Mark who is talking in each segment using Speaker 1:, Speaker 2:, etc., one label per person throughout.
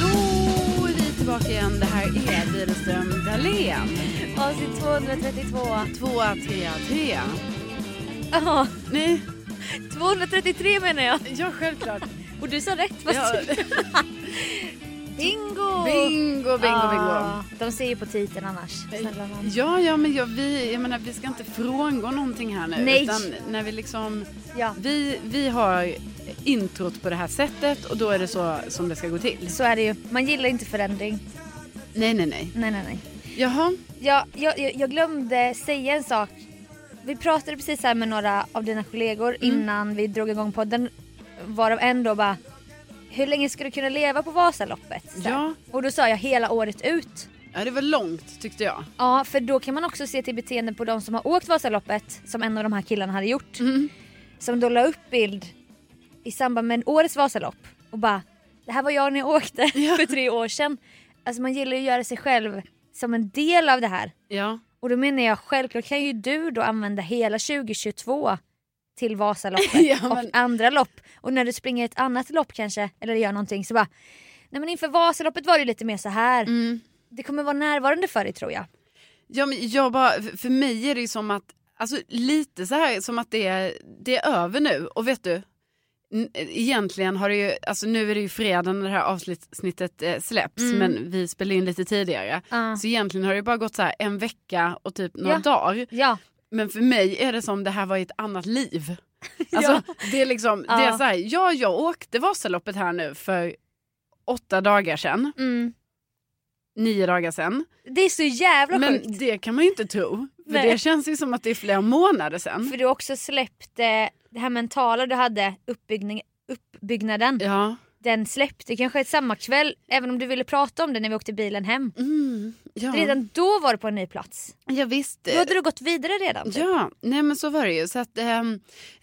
Speaker 1: Då är vi tillbaka igen. Det här är Widerström Dahlén.
Speaker 2: Avsnitt 232.
Speaker 1: Tvåa, trea, trea.
Speaker 2: Ja,
Speaker 1: Nej,
Speaker 2: 233 menar jag.
Speaker 1: ja självklart.
Speaker 2: Och du sa rätt fast...
Speaker 1: Ja.
Speaker 2: Bingo!
Speaker 1: Bingo, bingo, bingo.
Speaker 2: Ja, de ser ju på titeln annars. Snälla nån.
Speaker 1: Ja, ja, men jag, vi, jag menar, vi ska inte frångå någonting här nu.
Speaker 2: Nej.
Speaker 1: Utan när vi liksom...
Speaker 2: Ja,
Speaker 1: Vi, vi har introt på det här sättet och då är det så som det ska gå till.
Speaker 2: så är det ju. Man gillar inte förändring.
Speaker 1: Nej, nej, nej.
Speaker 2: Nej, nej, nej.
Speaker 1: Jaha.
Speaker 2: Ja, jag, jag, jag glömde säga en sak. Vi pratade precis här med några av dina kollegor
Speaker 1: Mm.
Speaker 2: innan vi drog igång podden. Varav en då bara, hur länge ska du kunna leva på Vasaloppet? Så här.
Speaker 1: Ja.
Speaker 2: Och då sa jag hela året ut.
Speaker 1: Ja, det var långt tyckte jag.
Speaker 2: Ja, för då kan man också se till beteenden på de som har åkt Vasaloppet, som en av de här killarna hade gjort.
Speaker 1: Mm.
Speaker 2: Som då la upp bild i samband med årets Vasalopp och bara “det här var jag när jag åkte för tre år sedan”. Alltså man gillar ju att göra sig själv som en del av det här.
Speaker 1: Ja.
Speaker 2: Och då menar jag självklart kan ju du då använda hela 2022 till Vasaloppet
Speaker 1: Ja, men-
Speaker 2: och andra lopp. Och när du springer ett annat lopp kanske, eller gör någonting så bara “nej men inför Vasaloppet var det lite mer så här.
Speaker 1: Mm.
Speaker 2: Det kommer vara närvarande för dig tror jag.
Speaker 1: Ja, men jag bara, för- för mig är det ju som att, alltså lite så här som att det är, det är över nu. Och vet du, n- egentligen har det ju, alltså nu är det ju fredag när det här avsnittet eh, släpps, men vi spelar in lite tidigare.
Speaker 2: Mm. Ja.
Speaker 1: Så egentligen har det ju bara gått så här en vecka och typ några
Speaker 2: Ja.
Speaker 1: dagar.
Speaker 2: Ja.
Speaker 1: Men för mig är det som det här var ett annat liv. Alltså, det är liksom, det är
Speaker 2: Ja.
Speaker 1: så här, ja jag åkte Vasaloppet här nu för åtta dagar sedan,
Speaker 2: Mm.
Speaker 1: nio dagar sedan.
Speaker 2: Det är så jävla
Speaker 1: Men
Speaker 2: sjukt.
Speaker 1: det kan man ju inte tro. För
Speaker 2: Nej.
Speaker 1: det känns ju som att det är flera månader sedan.
Speaker 2: För du har också släppte det här mentala du hade, uppbyggning, uppbyggnaden.
Speaker 1: Ja.
Speaker 2: Den släppte kanske samma kväll, även om du ville prata om det när vi åkte bilen hem.
Speaker 1: Mm, ja.
Speaker 2: Redan då var du på en ny plats.
Speaker 1: ja visst.
Speaker 2: Då hade du gått vidare redan. typ.
Speaker 1: Ja, nej men så var det ju. Så att, ehm,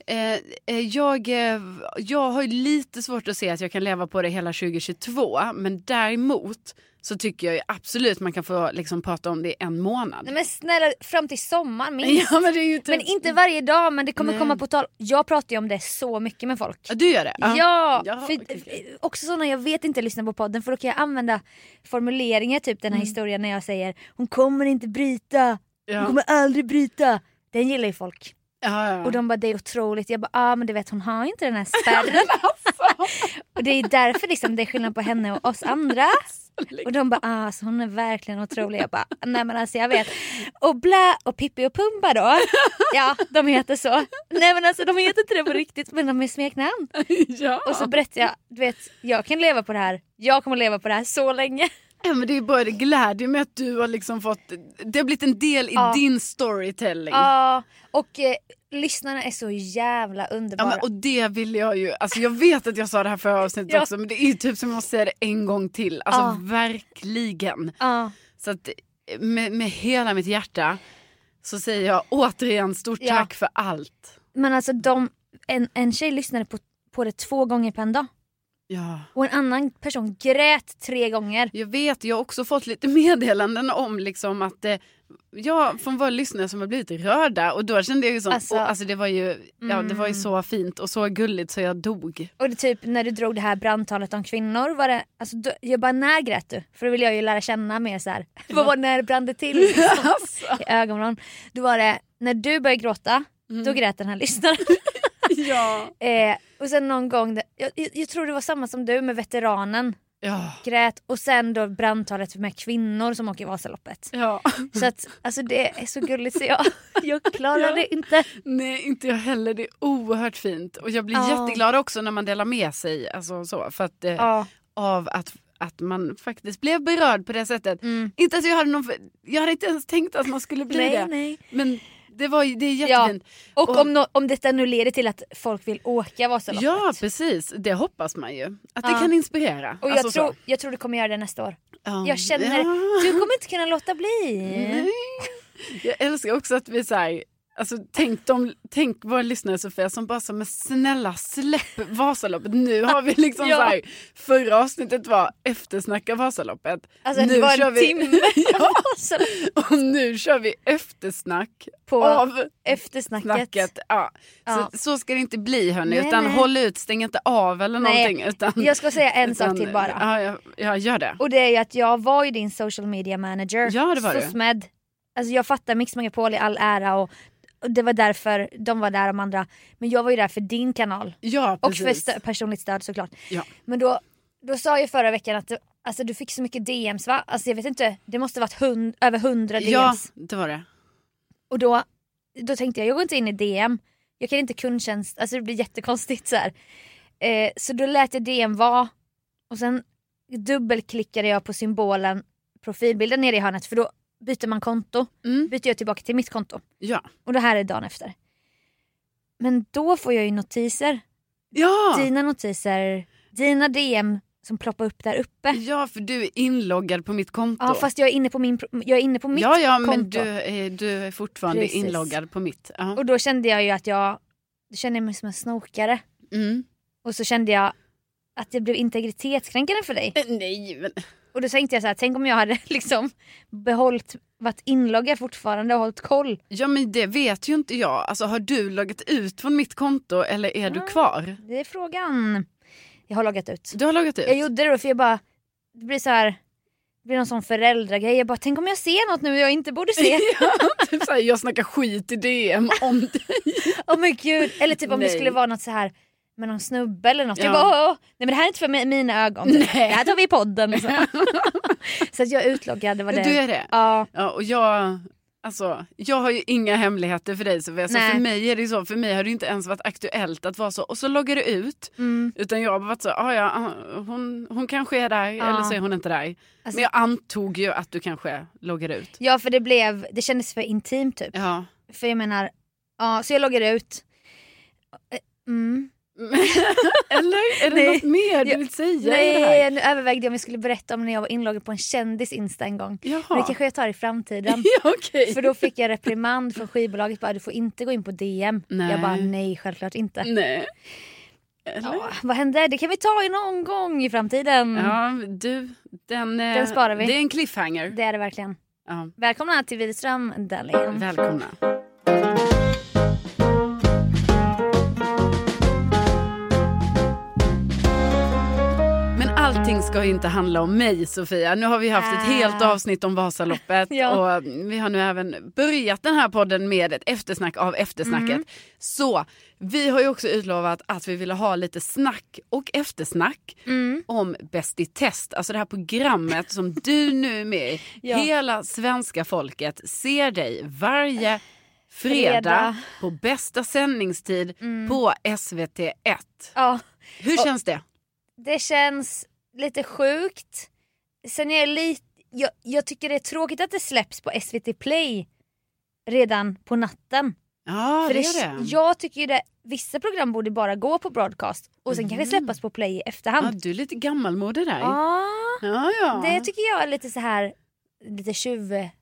Speaker 1: eh, eh, jag, eh, jag har ju lite svårt att se att jag kan leva på det hela 2022. Men däremot så tycker jag ju absolut man kan få liksom, prata om det i en månad.
Speaker 2: Nej men snälla, fram till sommaren minst.
Speaker 1: ja, men det är ju typ...
Speaker 2: Men inte varje dag, men det kommer
Speaker 1: Nej.
Speaker 2: komma på tal. Jag pratar ju om det så mycket med folk.
Speaker 1: Ja, du gör det?
Speaker 2: Ja!
Speaker 1: Jaha,
Speaker 2: för, eh,
Speaker 1: okej, okej.
Speaker 2: Också sådana jag vet inte lyssnar på podden för då kan jag använda formuleringar, typ den här historien när jag säger “Hon kommer inte bryta, hon
Speaker 1: Mm. Ja.
Speaker 2: kommer aldrig bryta”. Den gillar ju folk.
Speaker 1: Ja, ja.
Speaker 2: Och de bara det är otroligt. Jag bara ja ah, men du vet hon har ju inte den här spärren. och det är därför liksom det är skillnad på henne och oss andra. Och de bara ah, så hon är verkligen otrolig. Jag bara nej men alltså jag vet. Och Blä och Pippi och Pumba då. Ja de heter så. Nej men alltså de heter inte det på riktigt men de är smeknamn.
Speaker 1: ja.
Speaker 2: Och så berättar jag, du vet jag kan leva på det här. Jag kommer leva på det här så länge.
Speaker 1: Ja, men det är bara det glädjer mig att du har liksom fått, det har blivit en del i
Speaker 2: Ja.
Speaker 1: din storytelling.
Speaker 2: Ja och eh, lyssnarna är så jävla
Speaker 1: Ja,
Speaker 2: underbara.
Speaker 1: men, och det vill jag ju, alltså jag vet att jag sa det här förra avsnittet
Speaker 2: Ja.
Speaker 1: också men det är ju typ som jag måste säga det en gång till, alltså
Speaker 2: Ja.
Speaker 1: verkligen.
Speaker 2: Ja.
Speaker 1: Så att eh, med, med hela mitt hjärta så säger jag återigen stort
Speaker 2: Ja.
Speaker 1: tack för allt.
Speaker 2: Men alltså de, en, en tjej lyssnade på, på det två gånger på en dag.
Speaker 1: Ja.
Speaker 2: Och en annan person grät tre gånger.
Speaker 1: Jag vet, jag har också fått lite meddelanden om liksom att eh, ja, från våra lyssnare som har blivit rörda och då kände jag ju som,
Speaker 2: Alltså- Mm.
Speaker 1: åh, alltså det var ju, ja, det var ju så fint och så gulligt så jag dog.
Speaker 2: Och det typ när du drog det här brandtalet om kvinnor. Var det, alltså, då, jag bara när grät du? För då vill jag ju lära känna mer så här. Vad var det när det brann till liksom, i ögonen? Då var det när du började gråta.
Speaker 1: Mm.
Speaker 2: Då grät den här lyssnaren.
Speaker 1: Ja.
Speaker 2: eh, och sen någon gång, där- jag, jag, jag tror det var samma som du med veteranen.
Speaker 1: Ja.
Speaker 2: Grät och sen då brandtalet med kvinnor som åker Vasaloppet.
Speaker 1: ja.
Speaker 2: Så att alltså det är så gulligt så jag, jag klarar det inte.
Speaker 1: Nej, inte jag heller. Det är oerhört fint. Och jag blir
Speaker 2: Ja.
Speaker 1: jätteglad också när man delar med sig alltså, så, för att, eh,
Speaker 2: Ja.
Speaker 1: av att, att man faktiskt blev berörd på det sättet.
Speaker 2: Mm.
Speaker 1: Inte att jag hade någon... för- Jag hade inte ens tänkt att man skulle bli
Speaker 2: Nej,
Speaker 1: det.
Speaker 2: nej.
Speaker 1: Men det, var, ju- det är jättefint.
Speaker 2: Och,
Speaker 1: Och-
Speaker 2: om, no- om detta nu leder till att folk vill åka Vasaloppet.
Speaker 1: Ja, precis. Det hoppas man ju. Att det
Speaker 2: Ja.
Speaker 1: kan inspirera.
Speaker 2: och jag,
Speaker 1: Alltså så.
Speaker 2: tror, jag tror du kommer göra det nästa år.
Speaker 1: Ja.
Speaker 2: Jag känner,
Speaker 1: Ja.
Speaker 2: du kommer inte kunna låta bli.
Speaker 1: Nej. Jag älskar också att vi så här, alltså, tänk, de, tänk våra lyssnare Sofia som bara så, men snälla släpp Vasaloppet. Nu har vi liksom
Speaker 2: Ja.
Speaker 1: så här, förra avsnittet var eftersnacka Vasaloppet.
Speaker 2: Alltså
Speaker 1: nu
Speaker 2: det var
Speaker 1: kör
Speaker 2: en timme
Speaker 1: ja,
Speaker 2: Vasalopp-
Speaker 1: och nu kör vi eftersnack
Speaker 2: på
Speaker 1: av
Speaker 2: eftersnacket.
Speaker 1: snacket. Ja.
Speaker 2: Ja.
Speaker 1: Så, så ska det inte bli hörni,
Speaker 2: Nej,
Speaker 1: utan
Speaker 2: nej.
Speaker 1: håll ut, stäng inte av eller
Speaker 2: Nej,
Speaker 1: någonting. Utan,
Speaker 2: Jag ska säga en sak
Speaker 1: utan-
Speaker 2: till bara.
Speaker 1: Ja, ja, ja gör det.
Speaker 2: Och det är ju att jag var ju din social media manager.
Speaker 1: Ja, det var du.
Speaker 2: SOSMED. Alltså jag fattar Mix Megapol i all ära och, och det var därför de var där de andra. Men jag var ju där för din kanal.
Speaker 1: Ja,
Speaker 2: Och för
Speaker 1: precis.
Speaker 2: stö- personligt stöd såklart.
Speaker 1: Ja.
Speaker 2: Men då, då sa jag förra veckan att du, alltså, du fick så mycket DMs va? Alltså jag vet inte, det måste varit hund, över 100 DMs.
Speaker 1: ja, det var det.
Speaker 2: Och då, då tänkte jag, jag går inte in i DM. Jag kan inte kundtjänst, alltså det blir jättekonstigt så här. Eh, så då lät jag DM vara. Och sen dubbelklickade jag på symbolen, profilbilden nere i hörnet för då byter man konto.
Speaker 1: Mm.
Speaker 2: Byter jag tillbaka till mitt konto.
Speaker 1: Ja.
Speaker 2: Och det här är dagen efter. Men då får jag ju notiser
Speaker 1: Ja.
Speaker 2: dina notiser, dina DM som ploppar upp där uppe.
Speaker 1: Ja, för du är inloggad på mitt konto.
Speaker 2: Ja fast jag är inne på, min, pro- jag är inne på mitt
Speaker 1: ja, ja, men
Speaker 2: konto.
Speaker 1: du, är- du är fortfarande
Speaker 2: Precis.
Speaker 1: inloggad på mitt. Ja.
Speaker 2: Och då kände jag ju att jag, då kände jag mig som en snokare.
Speaker 1: Mm.
Speaker 2: Och så kände jag att det blev integritetskränkande för dig.
Speaker 1: Eh, Nej, men...
Speaker 2: Och då tänkte jag så här, tänk om jag hade liksom behållit, varit inloggad fortfarande och hållit koll.
Speaker 1: Ja, men det vet ju inte jag. Alltså, har du loggat ut från mitt konto eller är du
Speaker 2: Ah.
Speaker 1: kvar?
Speaker 2: Det är frågan. Jag har loggat ut.
Speaker 1: Du har loggat ut?
Speaker 2: Jag gjorde det då för jag bara, det blir så här, det blir någon sån föräldragrej. Jag bara, tänk om jag ser något nu jag inte borde se.
Speaker 1: ja, typ såhär, jag snackar skit i DM om dig.
Speaker 2: Åh men gud, eller typ om
Speaker 1: Nej.
Speaker 2: det skulle vara något så här med någon snubbe eller något.
Speaker 1: Ja.
Speaker 2: Jag bara, åh, åh, åh. nej men det här är inte för mi- mina ögon.
Speaker 1: Nej.
Speaker 2: Det här tar vi i podden. Och Så, så att jag är utloggad, det var det.
Speaker 1: Du är det?
Speaker 2: Ja,
Speaker 1: Ja, och jag... Alltså, jag har ju inga hemligheter för dig Sofia, så
Speaker 2: Nej.
Speaker 1: för mig är det ju så, för mig har det ju inte ens varit aktuellt att vara så. Och så loggar du ut,
Speaker 2: mm.
Speaker 1: utan jag har bara varit så, ah, ja, ah, hon, hon kanske är där
Speaker 2: Ja.
Speaker 1: eller så är hon inte där.
Speaker 2: Alltså-
Speaker 1: Men jag antog ju att du kanske loggar ut.
Speaker 2: ja för det blev, det kändes för intimt typ.
Speaker 1: Ja.
Speaker 2: För jag menar, ja så jag loggar ut. Eh, Mm.
Speaker 1: Eller är det
Speaker 2: Nej.
Speaker 1: något mer du
Speaker 2: Jag-
Speaker 1: vill säga i det här?
Speaker 2: Nej, nu övervägde jag om jag skulle berätta om när jag var inloggad på en kändis Insta en gång. Men det
Speaker 1: Jaha.
Speaker 2: kanske jag tar i framtiden.
Speaker 1: Ja, okej.
Speaker 2: För då fick jag reprimand från skivbolaget, bara du får inte gå in på DM.
Speaker 1: Nej.
Speaker 2: Jag bara nej självklart inte.
Speaker 1: Nej. Eller?
Speaker 2: Ja, vad hände? Det kan vi ta i någon gång i framtiden.
Speaker 1: Ja, du, den, eh,
Speaker 2: Den sparar vi.
Speaker 1: Det är en cliffhanger.
Speaker 2: Det är det verkligen.
Speaker 1: Ja.
Speaker 2: Välkomna till Widerström Dahlén.
Speaker 1: Välkomna. Men allt allting ska ju inte handla om mig Sofia. Nu har vi haft ett
Speaker 2: Ah.
Speaker 1: helt avsnitt om Vasaloppet
Speaker 2: Ja.
Speaker 1: och vi har nu även börjat den här podden med ett eftersnack av eftersnacket.
Speaker 2: Mm.
Speaker 1: Så vi har ju också utlovat att vi ville ha lite snack och eftersnack
Speaker 2: Mm.
Speaker 1: om Bäst i test, alltså det här programmet som du nu är med i.
Speaker 2: Ja.
Speaker 1: Hela svenska folket ser dig varje fredag,
Speaker 2: Fredag. Mm.
Speaker 1: på bästa sändningstid på SVT1.
Speaker 2: Ja,
Speaker 1: Hur känns det?
Speaker 2: det känns lite sjukt. Sen är jag lite... Jag, jag tycker det är tråkigt att det släpps på SVT Play redan på natten.
Speaker 1: Ja,
Speaker 2: För
Speaker 1: det
Speaker 2: det-
Speaker 1: är det.
Speaker 2: Jag tycker ju det, vissa program borde bara gå på broadcast och sen kanske släppas på play i
Speaker 1: Mm. Ja,
Speaker 2: efterhand.
Speaker 1: du är lite gammalmodig där.
Speaker 2: Ja,
Speaker 1: Ja, ja.
Speaker 2: det tycker jag är lite så här lite tjuv,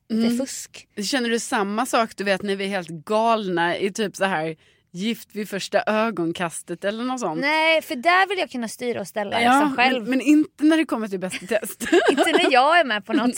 Speaker 2: lite
Speaker 1: Mm.
Speaker 2: fusk.
Speaker 1: Känner du samma sak du vet när vi är helt galna i typ så här gift vid första ögonkastet eller något sånt?
Speaker 2: Nej, för där vill jag kunna styra och ställa
Speaker 1: ja,
Speaker 2: liksom själv.
Speaker 1: Men, men inte när det kommer till Bäst i test.
Speaker 2: Inte när jag är med på något.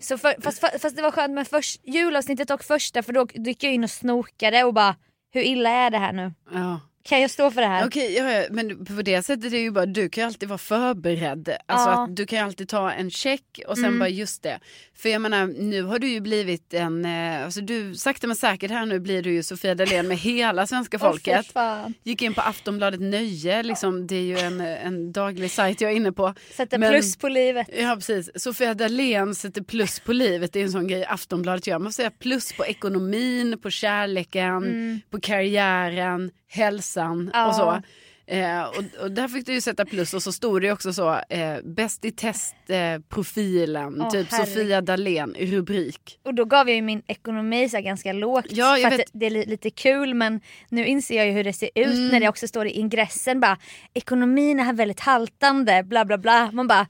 Speaker 2: Så för, fast, fast det var skönt med först, julavsnittet och första för då gick jag in och snokade och bara hur illa är det här nu?
Speaker 1: ja.
Speaker 2: Kan jag stå för det här?
Speaker 1: Okej, ja, ja, men på det sättet är det ju bara, du kan ju alltid vara förberedd. Alltså
Speaker 2: Ja. Mm.
Speaker 1: att du kan ju alltid ta en check och sen bara just det. För jag menar, nu har du ju blivit en, eh, alltså du, sakta men säkert här nu blir du ju Sofia Dalén med hela svenska
Speaker 2: Åh, fy
Speaker 1: folket.
Speaker 2: fan.
Speaker 1: Gick in på Aftonbladet Nöje, liksom, det är ju en, en daglig sajt jag är inne på.
Speaker 2: Sätta
Speaker 1: Men-
Speaker 2: plus på livet.
Speaker 1: Ja precis, Sofia Dalén sätter plus på livet, det är en sån grej Aftonbladet gör. Man får säga plus på ekonomin, på kärleken, på karriären, hälsan
Speaker 2: Mm. Ja.
Speaker 1: och så. Eh, och, och där fick du ju sätta plus och så stod det ju också så, eh, bäst i test-profilen, eh, profilen,
Speaker 2: Åh,
Speaker 1: typ
Speaker 2: herregud.
Speaker 1: Sofia Dalén i rubrik.
Speaker 2: Och då gav jag ju min ekonomi så här ganska lågt
Speaker 1: Ja, jag vet.
Speaker 2: för
Speaker 1: Mm.
Speaker 2: att det är li- lite kul men nu inser jag ju hur det ser ut när det också står i ingressen bara ekonomin är här väldigt haltande bla bla bla. Man bara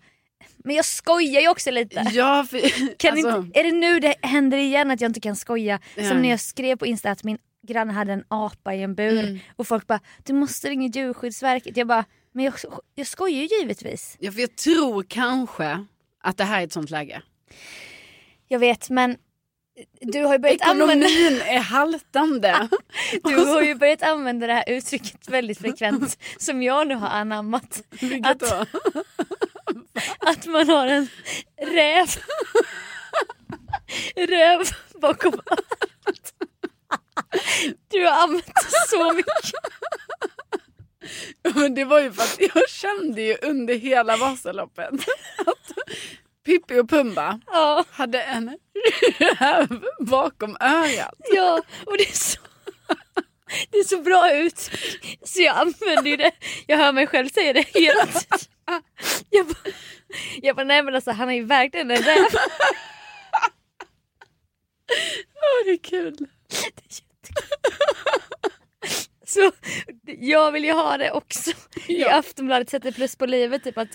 Speaker 2: men jag skojar ju också lite.
Speaker 1: Ja, för,
Speaker 2: Kan
Speaker 1: alltså,
Speaker 2: inte, är det nu det händer igen att jag inte kan skoja?
Speaker 1: Ja.
Speaker 2: Som när jag skrev på Insta att min granne hade en apa i en bur
Speaker 1: Mm.
Speaker 2: och folk bara du måste ringa djurskyddsverket. Jag bara men jag, jag skojar ju givetvis.
Speaker 1: ja, för jag tror kanske att det här är ett sånt läge.
Speaker 2: Jag vet men du har ju börjat använda
Speaker 1: Ekonomin är haltande.
Speaker 2: Du har ju börjat använda det här uttrycket väldigt frekvent som jag nu har anammat.
Speaker 1: Vilket
Speaker 2: Att,
Speaker 1: då?
Speaker 2: att man har en räv, räv bakom örat. Du har använt det så mycket.
Speaker 1: Men det var ju för att jag kände ju under hela Vasaloppet att Pippi och Pumba
Speaker 2: Ja,
Speaker 1: hade en räv bakom örat.
Speaker 2: ja och det är så, det är så bra ut. Så jag använder ju det. Jag hör mig själv säga det hela tiden. Jag bara, jag bara nej men alltså han har ju verkligen en räv.
Speaker 1: Åh, det är kul.
Speaker 2: Så jag vill ju ha det också. I
Speaker 1: Ja.
Speaker 2: Aftonbladet sätter plus på livet typ att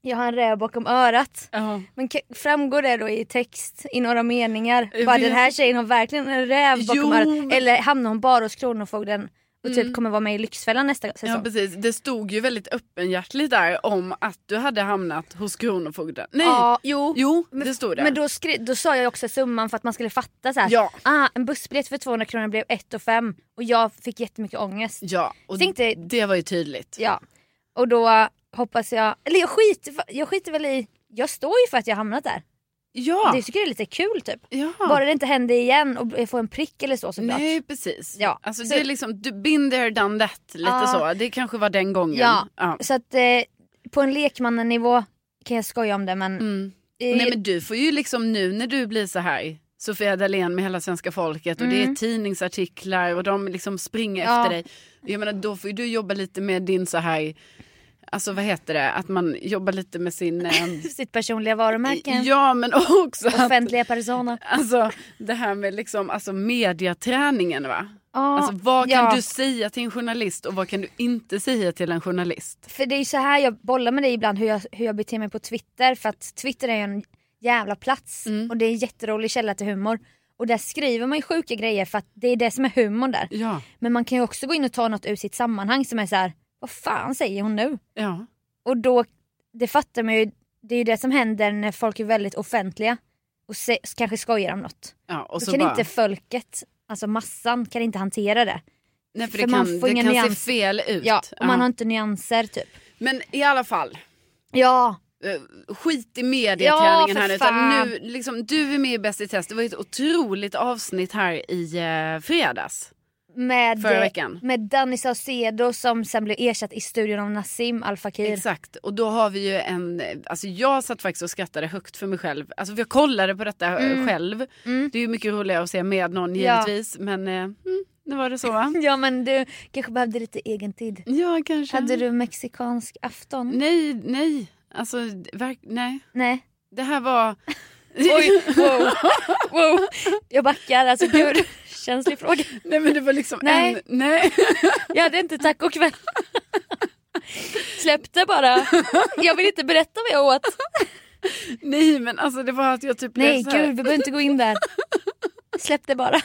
Speaker 2: jag har en räv bakom örat.
Speaker 1: Ja.
Speaker 2: Men ka- framgår det då i text i några meningar?
Speaker 1: Jag
Speaker 2: Bara
Speaker 1: vet.
Speaker 2: den här tjejen har verkligen en räv bakom
Speaker 1: Jo, men- Mm.
Speaker 2: örat. Eller hamnar hon bara hos Kronofogden och typ kommer vara med i Lyxfällan nästa
Speaker 1: ja,
Speaker 2: säsong?
Speaker 1: precis. Det stod ju väldigt öppenhjärtligt där om att du hade hamnat hos Kronofogden. Nej,
Speaker 2: Ja, jo.
Speaker 1: jo,
Speaker 2: Men-
Speaker 1: det stod det.
Speaker 2: Men då, skri- då sa jag också summan för att man skulle fatta så här.
Speaker 1: Ja.
Speaker 2: Ah, en bussbiljett för 200 kronor blev 1 och 5 och jag fick jättemycket ångest.
Speaker 1: Ja, och
Speaker 2: Tänkte-
Speaker 1: det var ju tydligt.
Speaker 2: Ja. Och då hoppas jag, eller jag skiter, jag skiter väl i, jag står ju för att jag hamnat där.
Speaker 1: Ja.
Speaker 2: Det tycker jag är lite kul typ.
Speaker 1: ja.
Speaker 2: Bara det inte händer igen och jag får en prick eller så såklart.
Speaker 1: Nej precis.
Speaker 2: Ja.
Speaker 1: Alltså,
Speaker 2: Så-
Speaker 1: det är liksom du, been there done that. Lite
Speaker 2: Ja.
Speaker 1: så. Det kanske var den gången.
Speaker 2: Ja. Så att eh, på en lekmannanivå kan jag skoja om det men...
Speaker 1: Mm.
Speaker 2: Eh,
Speaker 1: Nej men du får ju liksom nu när du blir så här Sofia Dalén med hela svenska folket och det är tidningsartiklar och de liksom springer
Speaker 2: Mm. Ja.
Speaker 1: efter dig. Jag menar då får ju du jobba lite med din så här, alltså vad heter det, att man jobbar lite med sin... Eh,
Speaker 2: Sitt personliga varumärke.
Speaker 1: ja men också att,
Speaker 2: Offentliga persona.
Speaker 1: alltså det här med liksom alltså mediaträningen va?
Speaker 2: Ja,
Speaker 1: Alltså vad kan
Speaker 2: ja.
Speaker 1: du säga till en journalist och vad kan du inte säga till en journalist?
Speaker 2: För det är ju så här jag bollar med dig ibland hur jag, hur jag beter mig på Twitter för att Twitter är ju en jävla plats
Speaker 1: Mm.
Speaker 2: och det är en jätterolig källa till humor. Och där skriver man ju sjuka grejer för att det är det som är humorn där.
Speaker 1: Ja,
Speaker 2: Men man kan ju också gå in och ta något ur sitt sammanhang som är så här, vad fan säger hon nu?
Speaker 1: ja,
Speaker 2: Och då, det fattar man ju, det är ju det som händer när folk är väldigt offentliga och se, kanske skojar om något.
Speaker 1: ja. Och
Speaker 2: Då
Speaker 1: så
Speaker 2: kan
Speaker 1: bara...
Speaker 2: inte folket, alltså massan, kan inte hantera det.
Speaker 1: Nej för,
Speaker 2: för
Speaker 1: det
Speaker 2: man
Speaker 1: kan,
Speaker 2: får
Speaker 1: det
Speaker 2: ingen
Speaker 1: kan se
Speaker 2: nyans.
Speaker 1: fel ut.
Speaker 2: Ja, och man
Speaker 1: Ja.
Speaker 2: har inte nyanser typ.
Speaker 1: Men i alla fall.
Speaker 2: Ja,
Speaker 1: Eh, Skit i
Speaker 2: Ja,
Speaker 1: mediaträningen
Speaker 2: för
Speaker 1: här nu, utan
Speaker 2: fan.
Speaker 1: nu. Liksom, du är med i Bäst i test. Det var ju ett otroligt avsnitt här i eh, fredags.
Speaker 2: med,
Speaker 1: Förra veckan.
Speaker 2: med Danny Saucedo som sen blev ersatt i studion av Nassim Al Fakir.
Speaker 1: Exakt, och då har vi ju en, alltså jag satt faktiskt och skrattade högt för mig själv. Alltså för jag kollade på detta eh, själv. Det är ju mycket roligare att se med någon
Speaker 2: Mm. Ja.
Speaker 1: givetvis. Men eh, mm, nu var det så va?
Speaker 2: Ja men du kanske behövde lite egen tid.
Speaker 1: ja kanske.
Speaker 2: Hade du mexikansk afton?
Speaker 1: Nej, nej. Alltså, verk... nej.
Speaker 2: Nej.
Speaker 1: Det här var...
Speaker 2: Oj, wow. wow. Jag backar, alltså gud. Känslig fråga.
Speaker 1: nej men det var liksom
Speaker 2: Nej.
Speaker 1: en... Nej.
Speaker 2: Jag hade inte tacokväll. Släppte bara. Jag vill inte berätta vad jag åt.
Speaker 1: nej men alltså det var att jag typ blev
Speaker 2: Nej
Speaker 1: så här-
Speaker 2: gud, vi behöver inte gå in där. Släppte bara.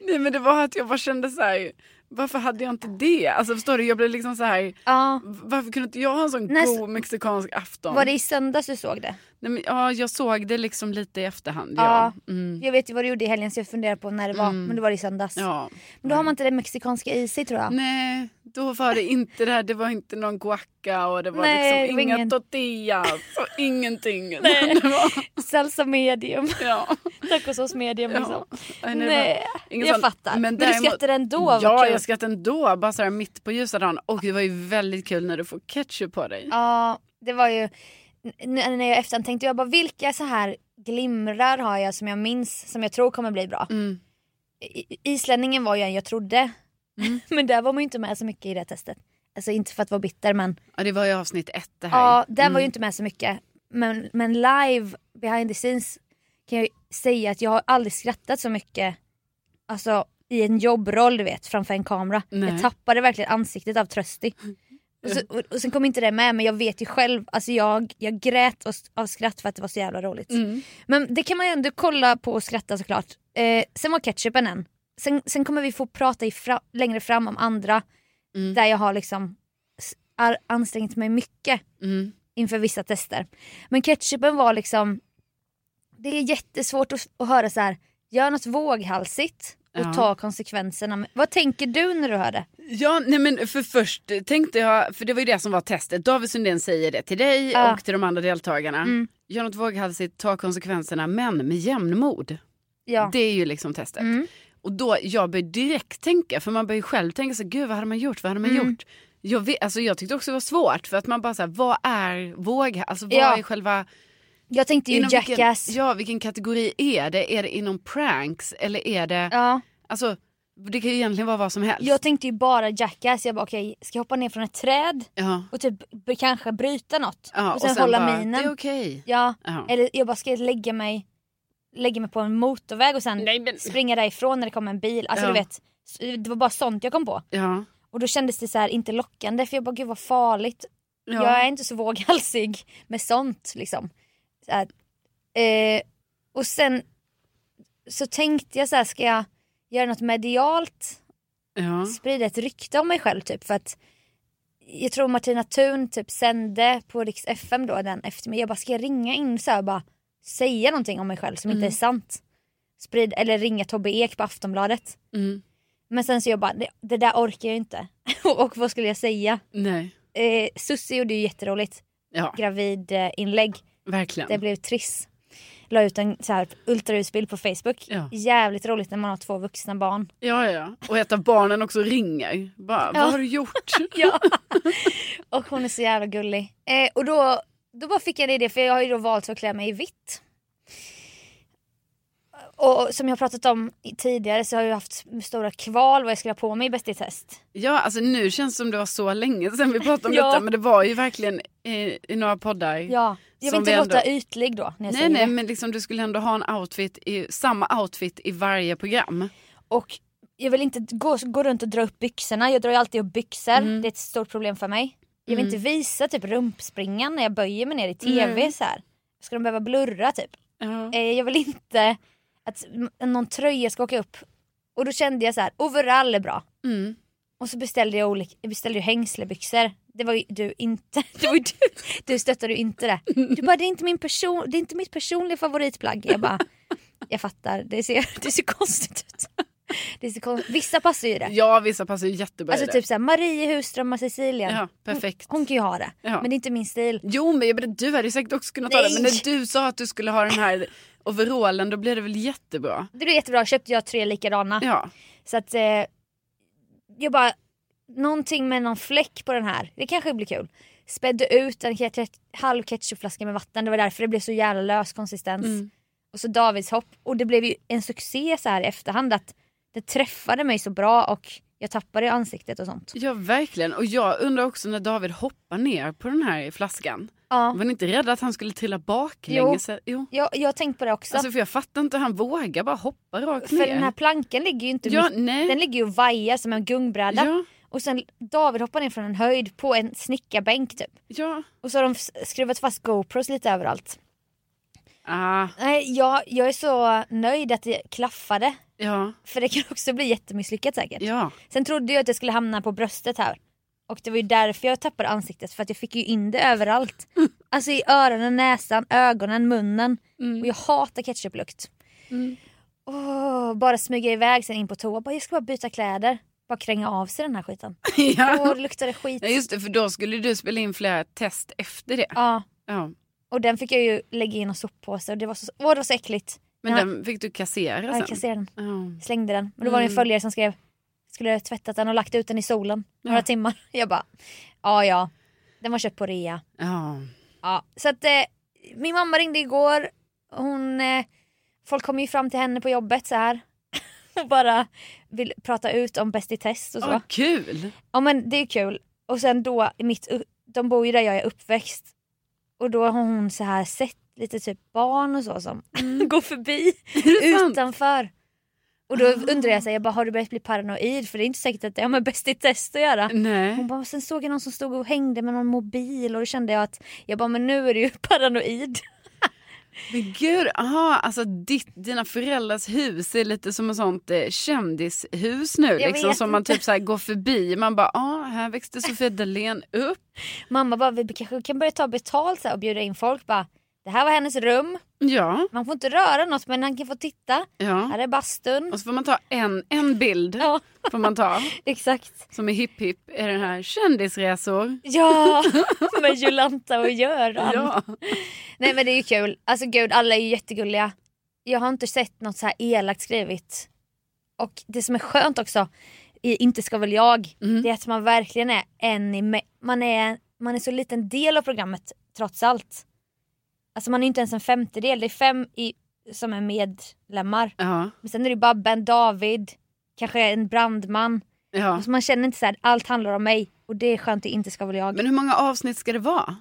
Speaker 1: Nej men det var att jag bara kände så här. Varför hade jag inte det? Alltså förstår du, jag blev liksom så här.
Speaker 2: Ja.
Speaker 1: Varför kunde inte jag ha en sån
Speaker 2: Nej,
Speaker 1: god mexikansk afton?
Speaker 2: Var det i söndags du såg det?
Speaker 1: Nej, men, ja, jag såg det liksom lite i efterhand. Ja.
Speaker 2: Ja.
Speaker 1: Mm.
Speaker 2: Jag vet ju vad du gjorde i helgen så jag funderar på när det var. Men det var i söndags.
Speaker 1: ja.
Speaker 2: Men då har man inte det mexikanska i sig
Speaker 1: Mm.
Speaker 2: tror jag.
Speaker 1: Nej, då var det inte det här. Det var inte någon guacca och det var
Speaker 2: Nej,
Speaker 1: liksom
Speaker 2: det var
Speaker 1: inga
Speaker 2: ingen-
Speaker 1: tortillas och ingenting.
Speaker 2: Nej.
Speaker 1: Det var,
Speaker 2: Salsa medium,
Speaker 1: ja.
Speaker 2: tacosås medium liksom.
Speaker 1: Nej, det var
Speaker 2: Nej,
Speaker 1: ingen
Speaker 2: jag
Speaker 1: sån-
Speaker 2: fattar. Men, du skrattade ändå. vad
Speaker 1: Ja,
Speaker 2: kul.
Speaker 1: jag skrattade ändå. Bara så här mitt på ljusa dagen. Och det var ju väldigt kul när du får ketchup på dig.
Speaker 2: Ja, det var ju... n- n- När jag efterhand tänkte jag bara vilka så här glimrar har jag som jag minns som jag tror kommer bli bra.
Speaker 1: Mm.
Speaker 2: I- Islänningen var ju en jag trodde.
Speaker 1: Mm.
Speaker 2: men där var man ju inte med så mycket i det testet. Alltså inte för att vara bitter men
Speaker 1: Ja, det var ju avsnitt ett det här.
Speaker 2: ja, där
Speaker 1: Mm.
Speaker 2: var ju inte med så mycket. Men, men live behind the scenes kan jag ju säga att jag har aldrig skrattat så mycket alltså i en jobbroll du vet framför en kamera.
Speaker 1: Nej.
Speaker 2: Jag tappade verkligen ansiktet av Trösti. Och, så, och, och sen kom inte det med men jag vet ju själv, alltså jag, jag grät av, av skratt för att det var så jävla roligt.
Speaker 1: Mm.
Speaker 2: Men det kan man ju ändå kolla på och skratta såklart. Eh, sen var ketchupen en. Sen, sen kommer vi få prata i fra, längre fram om andra
Speaker 1: Mm.
Speaker 2: där jag har liksom s- ar- ansträngt mig mycket
Speaker 1: Mm.
Speaker 2: inför vissa tester. Men ketchupen var liksom, det är jättesvårt att, att höra så här. gör något våghalsigt och
Speaker 1: Ja.
Speaker 2: ta konsekvenserna. Men Vad tänker du när du hör det?
Speaker 1: Ja, nej men för först tänkte jag, för det var ju det som var testet. David Sundin säger det till dig
Speaker 2: Ja.
Speaker 1: och till de andra deltagarna.
Speaker 2: Mm.
Speaker 1: Gör något våghalsigt, ta konsekvenserna, men med jämnmod.
Speaker 2: Ja.
Speaker 1: Det är ju liksom testet.
Speaker 2: Mm.
Speaker 1: Och då, jag började direkt tänka, för man börjar ju själv tänka så gud vad hade man gjort, vad hade man
Speaker 2: Mm.
Speaker 1: gjort? Jag, vet, alltså, jag tyckte också det var svårt, för att man bara såhär, vad är våg, alltså vad
Speaker 2: Ja.
Speaker 1: är själva...
Speaker 2: Jag tänkte ju
Speaker 1: inom vilken,
Speaker 2: Jackass.
Speaker 1: ja, vilken kategori är det? Är det inom pranks eller är det,
Speaker 2: ja.
Speaker 1: alltså det kan ju egentligen vara vad som helst.
Speaker 2: Jag tänkte ju bara Jackass, jag bara okej, ska jag hoppa ner från ett träd
Speaker 1: ja.
Speaker 2: och typ b- kanske bryta något?
Speaker 1: Ja,
Speaker 2: och sen, hålla
Speaker 1: bara,
Speaker 2: minen.
Speaker 1: Det är okej.
Speaker 2: Ja,
Speaker 1: Ja.
Speaker 2: eller jag bara ska jag lägga mig, lägga mig på en motorväg och sen
Speaker 1: Nej, men-
Speaker 2: springa därifrån när det kommer en bil. Alltså
Speaker 1: Ja.
Speaker 2: du vet, s- det var bara sånt jag kom på.
Speaker 1: Ja.
Speaker 2: Och då kändes det så här inte lockande för jag bara gud vad farligt.
Speaker 1: Ja.
Speaker 2: Jag är inte så våghalsig med sånt liksom. Så här. Eh, och sen så tänkte jag så här, ska jag göra något medialt?
Speaker 1: Ja.
Speaker 2: sprida ett rykte om mig själv typ för att jag tror Martina Thun typ sände på Rix FM då den eftermiddagen. Jag bara ska jag ringa in så här och bara säga någonting om mig
Speaker 1: Mm.
Speaker 2: själv som inte är sant. Sprid, eller ringa Tobbe Ek på Aftonbladet.
Speaker 1: Mm.
Speaker 2: Men sen så jag bara det, det där orkar jag inte. och vad skulle jag säga?
Speaker 1: Nej.
Speaker 2: Eh, Sussi gjorde ju jätteroligt
Speaker 1: Ja,
Speaker 2: gravid eh, inlägg.
Speaker 1: verkligen.
Speaker 2: Det blev Triss. La ut en så här ultraljudsbild på Facebook.
Speaker 1: Ja.
Speaker 2: Jävligt roligt när man har två vuxna barn.
Speaker 1: Ja, ja, ja. Och ett av barnen också ringer. Bara,
Speaker 2: Ja.
Speaker 1: vad har du gjort?
Speaker 2: Ja. Och hon är så jävla gullig. Eh, och då, då bara fick jag en idé för jag har ju då valt att klä mig i vitt. Och som jag har pratat om i- tidigare så har jag haft stora kval vad jag skulle ha på mig i Bäst i test.
Speaker 1: Ja, alltså nu känns det som det var så länge sedan vi pratade om
Speaker 2: Ja.
Speaker 1: detta. Men det var ju verkligen i, i några poddar.
Speaker 2: Ja. Jag
Speaker 1: Som
Speaker 2: vill
Speaker 1: vi
Speaker 2: inte
Speaker 1: ändå-
Speaker 2: låta ytlig då när
Speaker 1: Nej,
Speaker 2: jag säger
Speaker 1: nej,
Speaker 2: det.
Speaker 1: men liksom du skulle ändå ha en outfit i, samma outfit i varje program.
Speaker 2: Och jag vill inte gå, gå runt och dra upp byxorna. Jag drar ju alltid upp byxor. Det är ett stort problem för mig. Jag vill inte visa typ rumpspringan när jag böjer mig ner i tv så här. Ska de behöva blurra typ?
Speaker 1: Ja.
Speaker 2: Eh, jag vill inte att m- någon tröja ska åka upp. Och då kände jag så här, overall är bra.
Speaker 1: Mm.
Speaker 2: Och så beställde jag, olika, jag beställde ju hängslebyxor. Det var ju du inte. Det var ju du, du stöttade ju inte det. Du bara, det är inte, min person, det är inte mitt personliga favoritplagg. Jag bara, jag fattar, det ser, det ser konstigt ut. Det är så konstigt. Vissa passar ju i det.
Speaker 1: Ja, vissa passar ju jättebra i
Speaker 2: Alltså
Speaker 1: det.
Speaker 2: typ såhär Marie Husström och Cecilia.
Speaker 1: Ja, perfekt.
Speaker 2: Hon, hon kan ju ha det.
Speaker 1: Ja.
Speaker 2: Men det är inte min stil.
Speaker 1: Jo, men jag menar, du hade ju säkert också kunnat ta det. Men
Speaker 2: Nej!
Speaker 1: när du sa att du skulle ha den här overallen, då blev det väl jättebra.
Speaker 2: Det blev jättebra, köpte jag tre likadana.
Speaker 1: Ja,
Speaker 2: Så att eh, jag bara, någonting med någon fläck på den här, det kanske blir kul. Spädde ut en ketchup, halv ketchupflaska med vatten, det var därför det blev så jävla lös konsistens.
Speaker 1: Mm.
Speaker 2: Och så Davids hopp och det blev ju en succé så här i efterhand att det träffade mig så bra och jag tappade i ansiktet och sånt.
Speaker 1: ja, verkligen. Och jag undrar också när David hoppar ner på den här flaskan.
Speaker 2: Ja.
Speaker 1: Var ni inte rädda att han skulle trilla baklänges? Jo. jo.
Speaker 2: Jag, jag har tänkt på det också.
Speaker 1: Alltså, för jag fattar inte, han vågar bara hoppa rakt ner.
Speaker 2: för den här plankan ligger ju inte
Speaker 1: Ja,
Speaker 2: mitt,
Speaker 1: nej.
Speaker 2: den ligger ju och vajar som en gungbräda.
Speaker 1: Ja.
Speaker 2: Och sen David hoppar ner från en höjd på en snickarbänk typ.
Speaker 1: Ja.
Speaker 2: Och så har de s- skruvat fast GoPros lite överallt.
Speaker 1: Ah,
Speaker 2: Nej, jag, jag är så nöjd att det klaffade.
Speaker 1: ja.
Speaker 2: För det kan också bli jättemisslyckat säkert.
Speaker 1: Ja.
Speaker 2: Sen trodde jag att jag skulle hamna på bröstet här. Och det var ju därför jag tappade ansiktet för att jag fick ju in det överallt. Alltså i öronen, näsan, ögonen, munnen. Och jag hatar ketchuplukt. Mm. Åh, bara smyga iväg sen in på toa. Bara, jag ska bara byta kläder. Bara kränga av sig den här skiten.
Speaker 1: ja.
Speaker 2: Åh, det luktade skit.
Speaker 1: Ja, just det, för då skulle du spela in flera test efter det.
Speaker 2: Ja,
Speaker 1: Ja.
Speaker 2: och den fick jag ju lägga i någon soppåse och det var så, åh, det var så äckligt.
Speaker 1: Men
Speaker 2: Ja.
Speaker 1: den fick du kassera sen. Mm.
Speaker 2: Ja, Jag kasserade den.
Speaker 1: Ja.
Speaker 2: slängde den. Men då var det en följare som skrev skulle jag tvättat den och lagt ut den i solen några
Speaker 1: Ja.
Speaker 2: timmar. Jag bara ja ja, den var köpt på rea.
Speaker 1: Ja.
Speaker 2: Ja. Så att eh, min mamma ringde igår. Hon, eh, folk kommer ju fram till henne på jobbet så här och bara vill prata ut om Bäst i test och så.
Speaker 1: Åh, kul!
Speaker 2: Ja men det är kul. Och sen då, i mitt, u- de bor ju där jag är uppväxt. Och då har hon så här sett lite typ barn och så som mm, går förbi
Speaker 1: det sant?
Speaker 2: utanför. Och då undrar jag så här, jag bara har du börjat bli paranoid? För det är inte säkert att det har med Bäst i test att göra.
Speaker 1: Nej.
Speaker 2: Hon bara, sen såg jag någon som stod och hängde med någon mobil och då kände jag att jag bara men nu är du ju paranoid.
Speaker 1: Men gud, aha, alltså ditt, dina föräldrars hus är lite som ett sånt eh, kändishus nu.
Speaker 2: Jag
Speaker 1: Liksom,
Speaker 2: vet
Speaker 1: som man
Speaker 2: inte.
Speaker 1: typ så här går förbi. Man bara, ah, här växte Sofia Dalén upp.
Speaker 2: Mamma bara vi kanske kan börja ta betalt så här, och bjuda in folk bara det här var hennes rum.
Speaker 1: Ja,
Speaker 2: Man får inte röra något men han kan få titta. Här
Speaker 1: ja.
Speaker 2: är bastun.
Speaker 1: Mm. Och så får man ta en, en bild.
Speaker 2: Ja.
Speaker 1: Får man ta.
Speaker 2: Exakt.
Speaker 1: Som är hipp hipp. Är den här kändisresor.
Speaker 2: Ja, med Jolanta och Göran.
Speaker 1: Ja.
Speaker 2: Nej men det är ju kul. Alltså gud, alla är ju jättegulliga. Jag har inte sett något så här elakt skrivet. Och det som är skönt också, i Inte ska väl jag, det är att man verkligen är en i mä- man är, man är så liten del av programmet trots allt. Alltså man är inte ens en femtedel, det är fem i, som är medlemmar.
Speaker 1: Ja.
Speaker 2: Men sen är det ju Babben, David, kanske en brandman.
Speaker 1: ja.
Speaker 2: Alltså man känner inte så här, allt handlar om mig. Och det är skönt i Inte ska väl jag.
Speaker 1: Men hur många avsnitt ska det vara?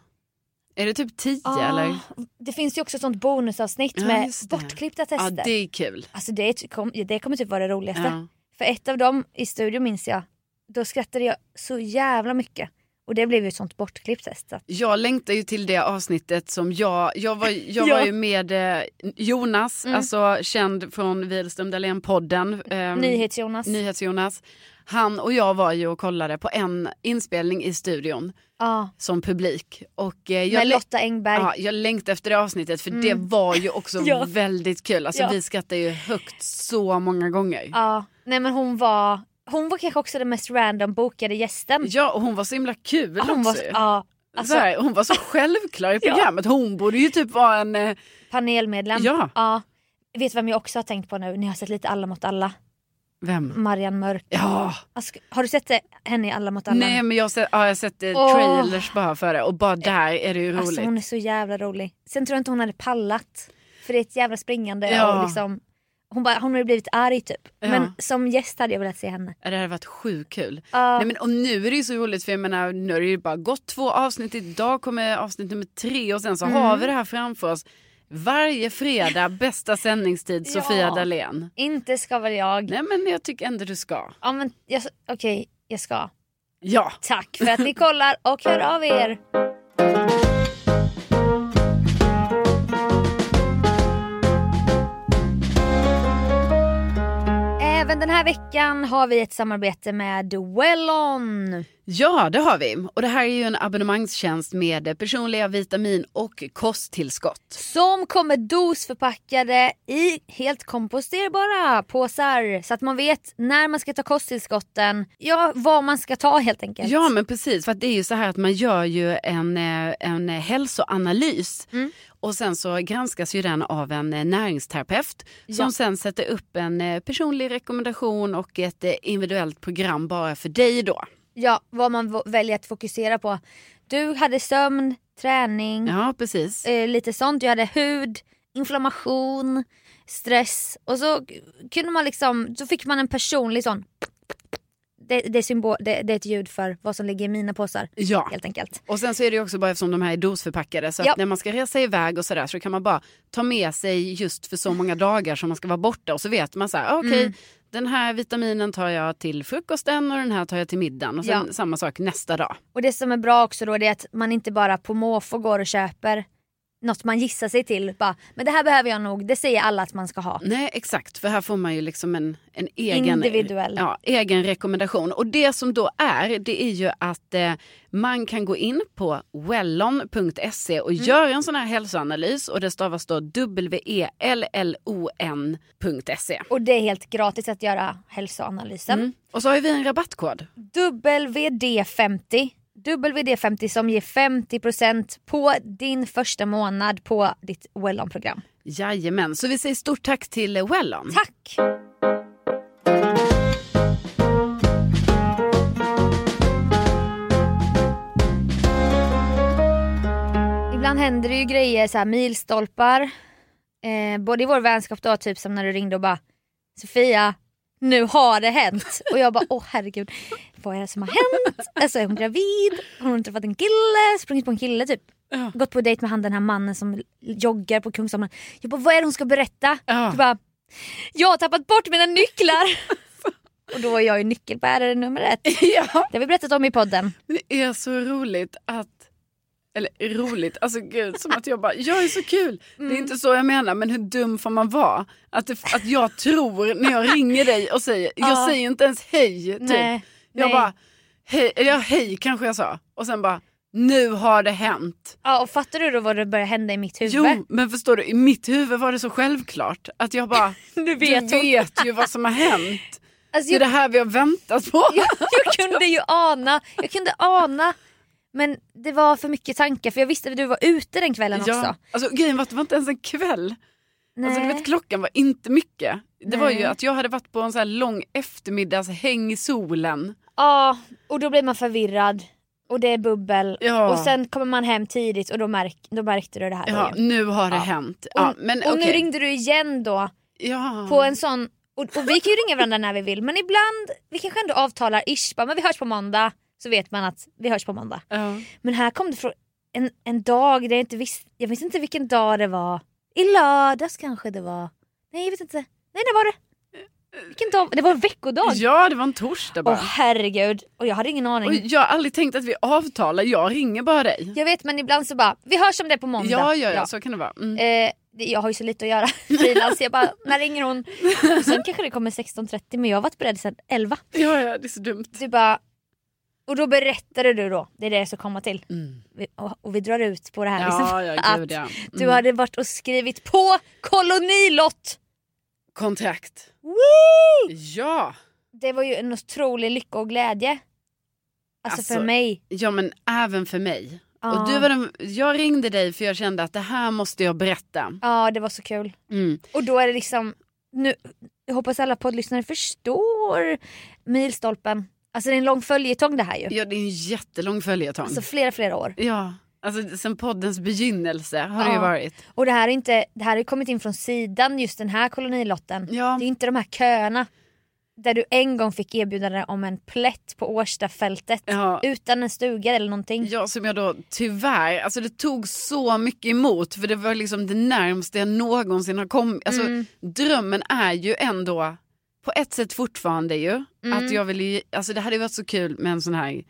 Speaker 1: Är det typ tio eller?
Speaker 2: Ah, Det finns ju också ett sånt bonusavsnitt
Speaker 1: Ja,
Speaker 2: med
Speaker 1: just det.
Speaker 2: bortklippta
Speaker 1: Ja,
Speaker 2: tester.
Speaker 1: det är kul.
Speaker 2: Alltså det, är ty- kom, det kommer typ vara det roligaste.
Speaker 1: Ja.
Speaker 2: För ett av dem i studion minns jag, då skrattade jag så jävla mycket. Och det blev ju ett sånt bortklippt test. Så. att-
Speaker 1: Jag längtar ju till det avsnittet som jag, jag var, jag
Speaker 2: Ja. Mm.
Speaker 1: var ju med eh, Jonas, alltså känd från Wihlström Dahlén-podden. Eh,
Speaker 2: Nyhets-Jonas.
Speaker 1: Nyhets-Jonas. Han och jag var ju och kollade på en inspelning i studion
Speaker 2: Ja,
Speaker 1: som publik. Och, eh, jag
Speaker 2: med
Speaker 1: lä-
Speaker 2: Lotta Engberg.
Speaker 1: Ja, jag längtade efter det avsnittet för det var ju också
Speaker 2: Ja.
Speaker 1: väldigt kul. Alltså,
Speaker 2: Ja.
Speaker 1: Vi skrattade ju högt så många gånger.
Speaker 2: Ja. Nej men hon var, hon var kanske också den mest random bokade gästen.
Speaker 1: Ja, och hon var så himla kul
Speaker 2: hon
Speaker 1: också.
Speaker 2: var,
Speaker 1: ju.
Speaker 2: ja,
Speaker 1: så
Speaker 2: alltså,
Speaker 1: här, hon var så självklar i
Speaker 2: Ja.
Speaker 1: programmet. Hon borde ju typ vara en... eh,
Speaker 2: panelmedlem.
Speaker 1: Ja.
Speaker 2: Vet du vem jag också har tänkt på nu? Ni har sett lite Alla mot alla.
Speaker 1: Vem?
Speaker 2: Marianne Mörk.
Speaker 1: Ja,
Speaker 2: Alltså, har du sett det? henne i Alla mot alla?
Speaker 1: nej men jag har sett, ja, jag har sett eh,
Speaker 2: Åh. Eh,
Speaker 1: trailers bara för det och bara där är det ju roligt.
Speaker 2: Alltså hon är så jävla rolig. Sen tror jag inte hon hade pallat. För det är ett jävla springande
Speaker 1: Ja.
Speaker 2: och liksom hon, bara, hon har ju blivit arg typ.
Speaker 1: Ja.
Speaker 2: Men som gäst hade jag velat se henne.
Speaker 1: Det hade varit sjukt kul. Nej, men, och nu är det ju så roligt för jag menar, nu har det ju bara gått två avsnitt. Idag kommer avsnitt nummer tre och sen
Speaker 2: Mm.
Speaker 1: så har vi det här framför oss. Varje fredag, bästa sändningstid,
Speaker 2: Ja.
Speaker 1: Sofia Dalén.
Speaker 2: Inte ska väl jag.
Speaker 1: Nej men jag tycker ändå du ska.
Speaker 2: Ja, men jag Okej, jag ska.
Speaker 1: Ja.
Speaker 2: Tack för att ni kollar och hör av er. Även den Den här veckan har vi ett samarbete med Wellon.
Speaker 1: Ja, det har vi. Och det här är ju en abonnemangstjänst med personliga vitamin och kosttillskott.
Speaker 2: Som kommer dosförpackade i helt komposterbara påsar. Så att man vet när man ska ta kosttillskotten. Ja, vad man ska ta helt enkelt.
Speaker 1: Ja, men precis. För att det är ju så här att man gör ju en, eh, en eh, hälsoanalys.
Speaker 2: Mm.
Speaker 1: Och sen så granskas ju den av en eh, näringsterapeut som
Speaker 2: Ja.
Speaker 1: sen sätter upp en eh, personlig rekommendation och ett eh, individuellt program bara för dig då.
Speaker 2: ja, vad man v- väljer att fokusera på. Du hade sömn, träning,
Speaker 1: Ja, precis.
Speaker 2: eh, lite sånt. Jag hade hud, inflammation, stress. Och så k- kunde man liksom, så fick man en personlig sån. Det, det, är symbol, det, det är ett ljud för vad som ligger i mina påsar
Speaker 1: Ja.
Speaker 2: helt enkelt.
Speaker 1: Och sen så är det ju också bara eftersom de här är dosförpackade så
Speaker 2: Ja.
Speaker 1: att när man ska resa iväg och sådär så kan man bara ta med sig just för så många dagar som man ska vara borta och så vet man så här, "Ah, okej
Speaker 2: Mm.
Speaker 1: den här vitaminen tar jag till frukosten och den här tar jag till middagen och sen
Speaker 2: Ja.
Speaker 1: samma sak nästa dag.
Speaker 2: Och det som är bra också då det är att man inte bara på måfå går och köper något man gissar sig till. Bara, men det här behöver jag nog, det säger alla att man ska ha.
Speaker 1: Nej exakt för här får man ju liksom en, en egen,
Speaker 2: Individuell.
Speaker 1: ja, egen rekommendation och det som då är det är ju att eh, man kan gå in på wellon.se och göra en sån här hälsoanalys och det stavas då E w-e-l-l-o-n.se.
Speaker 2: Och det är helt gratis att göra hälsoanalysen.
Speaker 1: Mm. Och så har ju vi en rabattkod.
Speaker 2: WD50. WD50 som ger 50% på din första månad på ditt Wellon-program.
Speaker 1: Jajamän, så vi säger stort tack till eh, Wellon.
Speaker 2: Tack! Ibland händer det ju grejer, så här milstolpar. Eh, både i vår vänskap då, typ som när du ringde och bara Sofia, nu har det hänt. Och jag bara, åh herregud, vad är det som har hänt? Alltså är hon gravid? Har hon träffat en kille? Sprungit på en kille typ?
Speaker 1: Ja.
Speaker 2: Gått på dejt med han den här mannen som joggar på Kungsholmen. Jag bara, vad är det hon ska berätta?
Speaker 1: Ja.
Speaker 2: Du bara, jag har tappat bort mina nycklar. och då är jag ju nyckelbärare nummer ett.
Speaker 1: ja,
Speaker 2: Det har vi berättat om i podden.
Speaker 1: det är så roligt att... Eller roligt, alltså gud, som att jag bara, jag är så kul. Det är inte så jag menar, men hur dum får man vara? Att, det, att jag tror när jag ringer dig och säger,
Speaker 2: Ja.
Speaker 1: jag säger inte ens hej. Typ.
Speaker 2: Nej,
Speaker 1: jag
Speaker 2: nej.
Speaker 1: bara, hej, eller ja, hej kanske jag sa. Och sen bara, nu har det hänt.
Speaker 2: Ja, och fattar du då vad det börjar hända i mitt huvud?
Speaker 1: Jo, men förstår du, i mitt huvud var det så självklart att jag bara,
Speaker 2: nu vet
Speaker 1: du
Speaker 2: hon.
Speaker 1: vet ju vad som har hänt.
Speaker 2: Alltså,
Speaker 1: Det är
Speaker 2: jag,
Speaker 1: det här vi har väntat på.
Speaker 2: jag, jag kunde ju ana, jag kunde ana. Men det var för mycket tankar för jag visste att du var ute den kvällen också.
Speaker 1: Alltså, grejen var att det var inte ens en kväll. Alltså, du vet, klockan var inte mycket. Det var ju
Speaker 2: Nej.
Speaker 1: att jag hade varit på en så här lång eftermiddagshäng i solen.
Speaker 2: Ja, och då blir man förvirrad. Och det är bubbel.
Speaker 1: Ja.
Speaker 2: Och sen kommer man hem tidigt och då, märk, då märkte du det här.
Speaker 1: Ja,
Speaker 2: igen.
Speaker 1: nu har det hänt. Ja,
Speaker 2: och
Speaker 1: men,
Speaker 2: och nu
Speaker 1: okej.
Speaker 2: ringde du igen då
Speaker 1: ja.
Speaker 2: på en sån... Och, och vi kan ju ringa varandra när vi vill men ibland, vi kanske ändå avtalar ish, bara, men vi hörs på måndag. Så vet man att vi hörs på måndag.
Speaker 1: Ja.
Speaker 2: Men här kom det från en, en dag där jag inte visste, jag visste inte vilken dag det var. I lördags kanske det var. Nej jag vet inte. Nej det var det. Vilken dag? Det var en veckodag.
Speaker 1: ja, det var en torsdag
Speaker 2: Åh
Speaker 1: bara.
Speaker 2: herregud. Och jag hade ingen aning.
Speaker 1: Och jag har aldrig tänkt att vi avtalar, jag ringer bara dig.
Speaker 2: Jag vet men ibland så bara, vi hörs om det på
Speaker 1: Ja,
Speaker 2: måndag.
Speaker 1: ja, ja, så kan det vara. Mm.
Speaker 2: Eh, det- jag har ju så lite att göra frilans, jag bara, när ringer hon? Och sen kanske det kommer 16.30 men jag har varit beredd sedan 11.
Speaker 1: Ja, ja, det är så dumt.
Speaker 2: Du bara, och då berättade du då, det är det jag ska komma till.
Speaker 1: Mm.
Speaker 2: Vi- Och, och vi drar ut på det här
Speaker 1: Ja, mm.
Speaker 2: liksom,
Speaker 1: ja, gud ja.
Speaker 2: du
Speaker 1: Mm.
Speaker 2: hade varit och skrivit på kolonilott.
Speaker 1: Kontrakt.
Speaker 2: Woo!
Speaker 1: Ja.
Speaker 2: Det var ju en otrolig lycka och glädje. Alltså, för
Speaker 1: Alltså,
Speaker 2: mig.
Speaker 1: Ja men även för mig.
Speaker 2: Ja.
Speaker 1: Och du var den, jag ringde dig för jag kände att det här måste jag berätta.
Speaker 2: Ja det var så kul.
Speaker 1: Mm.
Speaker 2: Och då är det liksom, nu, jag hoppas alla poddlyssnare förstår milstolpen. Alltså det är en lång följetong det här ju.
Speaker 1: Ja, det är en jättelång följetong.
Speaker 2: Alltså flera flera år.
Speaker 1: ja, alltså sen poddens begynnelse har det
Speaker 2: Ja.
Speaker 1: ju varit.
Speaker 2: Och det här är inte, det här har ju kommit in från sidan just den här kolonilotten.
Speaker 1: Ja.
Speaker 2: Det är inte de här köerna. Där du en gång fick erbjudande om en plätt på Årstafältet.
Speaker 1: Ja.
Speaker 2: Utan en stuga eller någonting.
Speaker 1: Ja, som jag då tyvärr, alltså det tog så mycket emot för det var liksom det närmaste jag någonsin har kommit. Alltså drömmen är ju ändå på ett sätt fortfarande ju att jag vill ju, alltså det hade ju varit så kul med en sån här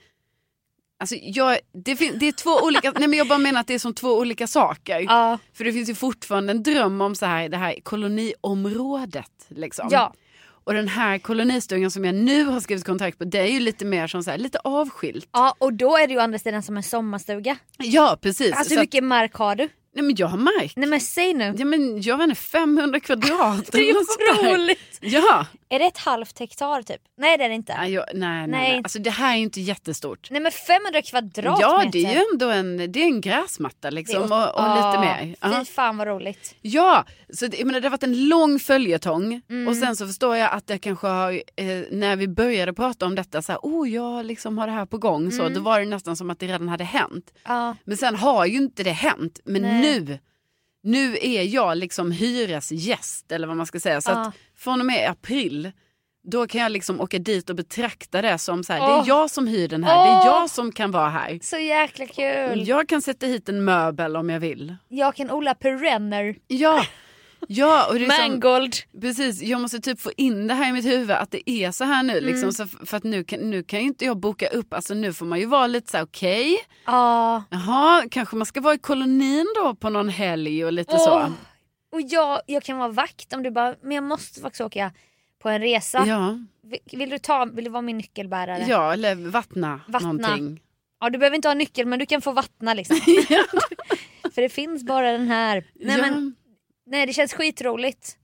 Speaker 1: Alltså jag, det, fin- det är två olika, nej men jag bara menar att det är som två olika saker.
Speaker 2: Ja.
Speaker 1: För det finns ju fortfarande en dröm om så här, det här koloniområdet. Liksom.
Speaker 2: Ja.
Speaker 1: Och Och den här kolonistugan som jag nu har skrivit kontrakt på, det är ju lite mer som så här, lite avskilt.
Speaker 2: Ja och då är det ju å andra sidan som en sommarstuga.
Speaker 1: Ja, precis.
Speaker 2: Alltså
Speaker 1: så
Speaker 2: hur
Speaker 1: att,
Speaker 2: mycket mark har du?
Speaker 1: nej, men jag har mark.
Speaker 2: Nej men säg nu.
Speaker 1: Ja, men jag vet inte, 500 kvadrat.
Speaker 2: Det är ju
Speaker 1: eller något sånt där.
Speaker 2: otroligt.
Speaker 1: Ja.
Speaker 2: Är det ett halvt hektar typ? Nej det är det inte.
Speaker 1: Nej, jag, nej, nej,
Speaker 2: Nej.
Speaker 1: nej. Alltså, det här är ju inte jättestort.
Speaker 2: Nej men 500 kvadratmeter.
Speaker 1: Ja, det är ju ändå en, det är en gräsmatta
Speaker 2: Det är
Speaker 1: liksom,
Speaker 2: åt-
Speaker 1: och, och lite
Speaker 2: Ah,
Speaker 1: mer. Ja.
Speaker 2: Fy fan vad roligt.
Speaker 1: Ja, så det, jag menar, det har varit en lång följetong
Speaker 2: Mm.
Speaker 1: och sen så förstår jag att det kanske har, eh, när vi började prata om detta, så här, oh jag liksom har det här på gång,
Speaker 2: Mm.
Speaker 1: så, då var det nästan som att det redan hade hänt.
Speaker 2: Ja.
Speaker 1: Men sen har ju inte det hänt, men
Speaker 2: Nej.
Speaker 1: nu, nu är jag liksom hyresgäst eller vad man ska säga. Så
Speaker 2: Ja.
Speaker 1: att från och med april, då kan jag liksom åka dit och betrakta det som så här, det
Speaker 2: Åh.
Speaker 1: är jag som hyr den här, det är
Speaker 2: Åh.
Speaker 1: jag som kan vara här.
Speaker 2: Så jäkla kul.
Speaker 1: Jag kan sätta hit en möbel om jag vill.
Speaker 2: Jag kan odla perenner.
Speaker 1: Ja, ja och det är som-
Speaker 2: Mangold.
Speaker 1: Precis, jag måste typ få in det här i mitt huvud att det är så här nu.
Speaker 2: Mm.
Speaker 1: Liksom, så f- för att nu kan, nu kan ju inte jag boka upp, alltså nu får man ju vara lite så här okej,
Speaker 2: Ja.
Speaker 1: jaha, kanske man ska vara i kolonin då på någon helg och lite
Speaker 2: Åh.
Speaker 1: så.
Speaker 2: Och jag, jag kan vara vakt om du bara, men jag måste faktiskt åka på en resa.
Speaker 1: Ja,
Speaker 2: Vill, vill, du ta, vill du vara min nyckelbärare?
Speaker 1: ja, eller vattna,
Speaker 2: Vattna.
Speaker 1: någonting.
Speaker 2: Ja, du behöver inte ha nyckel men du kan få vattna liksom.
Speaker 1: ja.
Speaker 2: För det finns bara den här. Nej,
Speaker 1: ja.
Speaker 2: men, nej det känns skitroligt.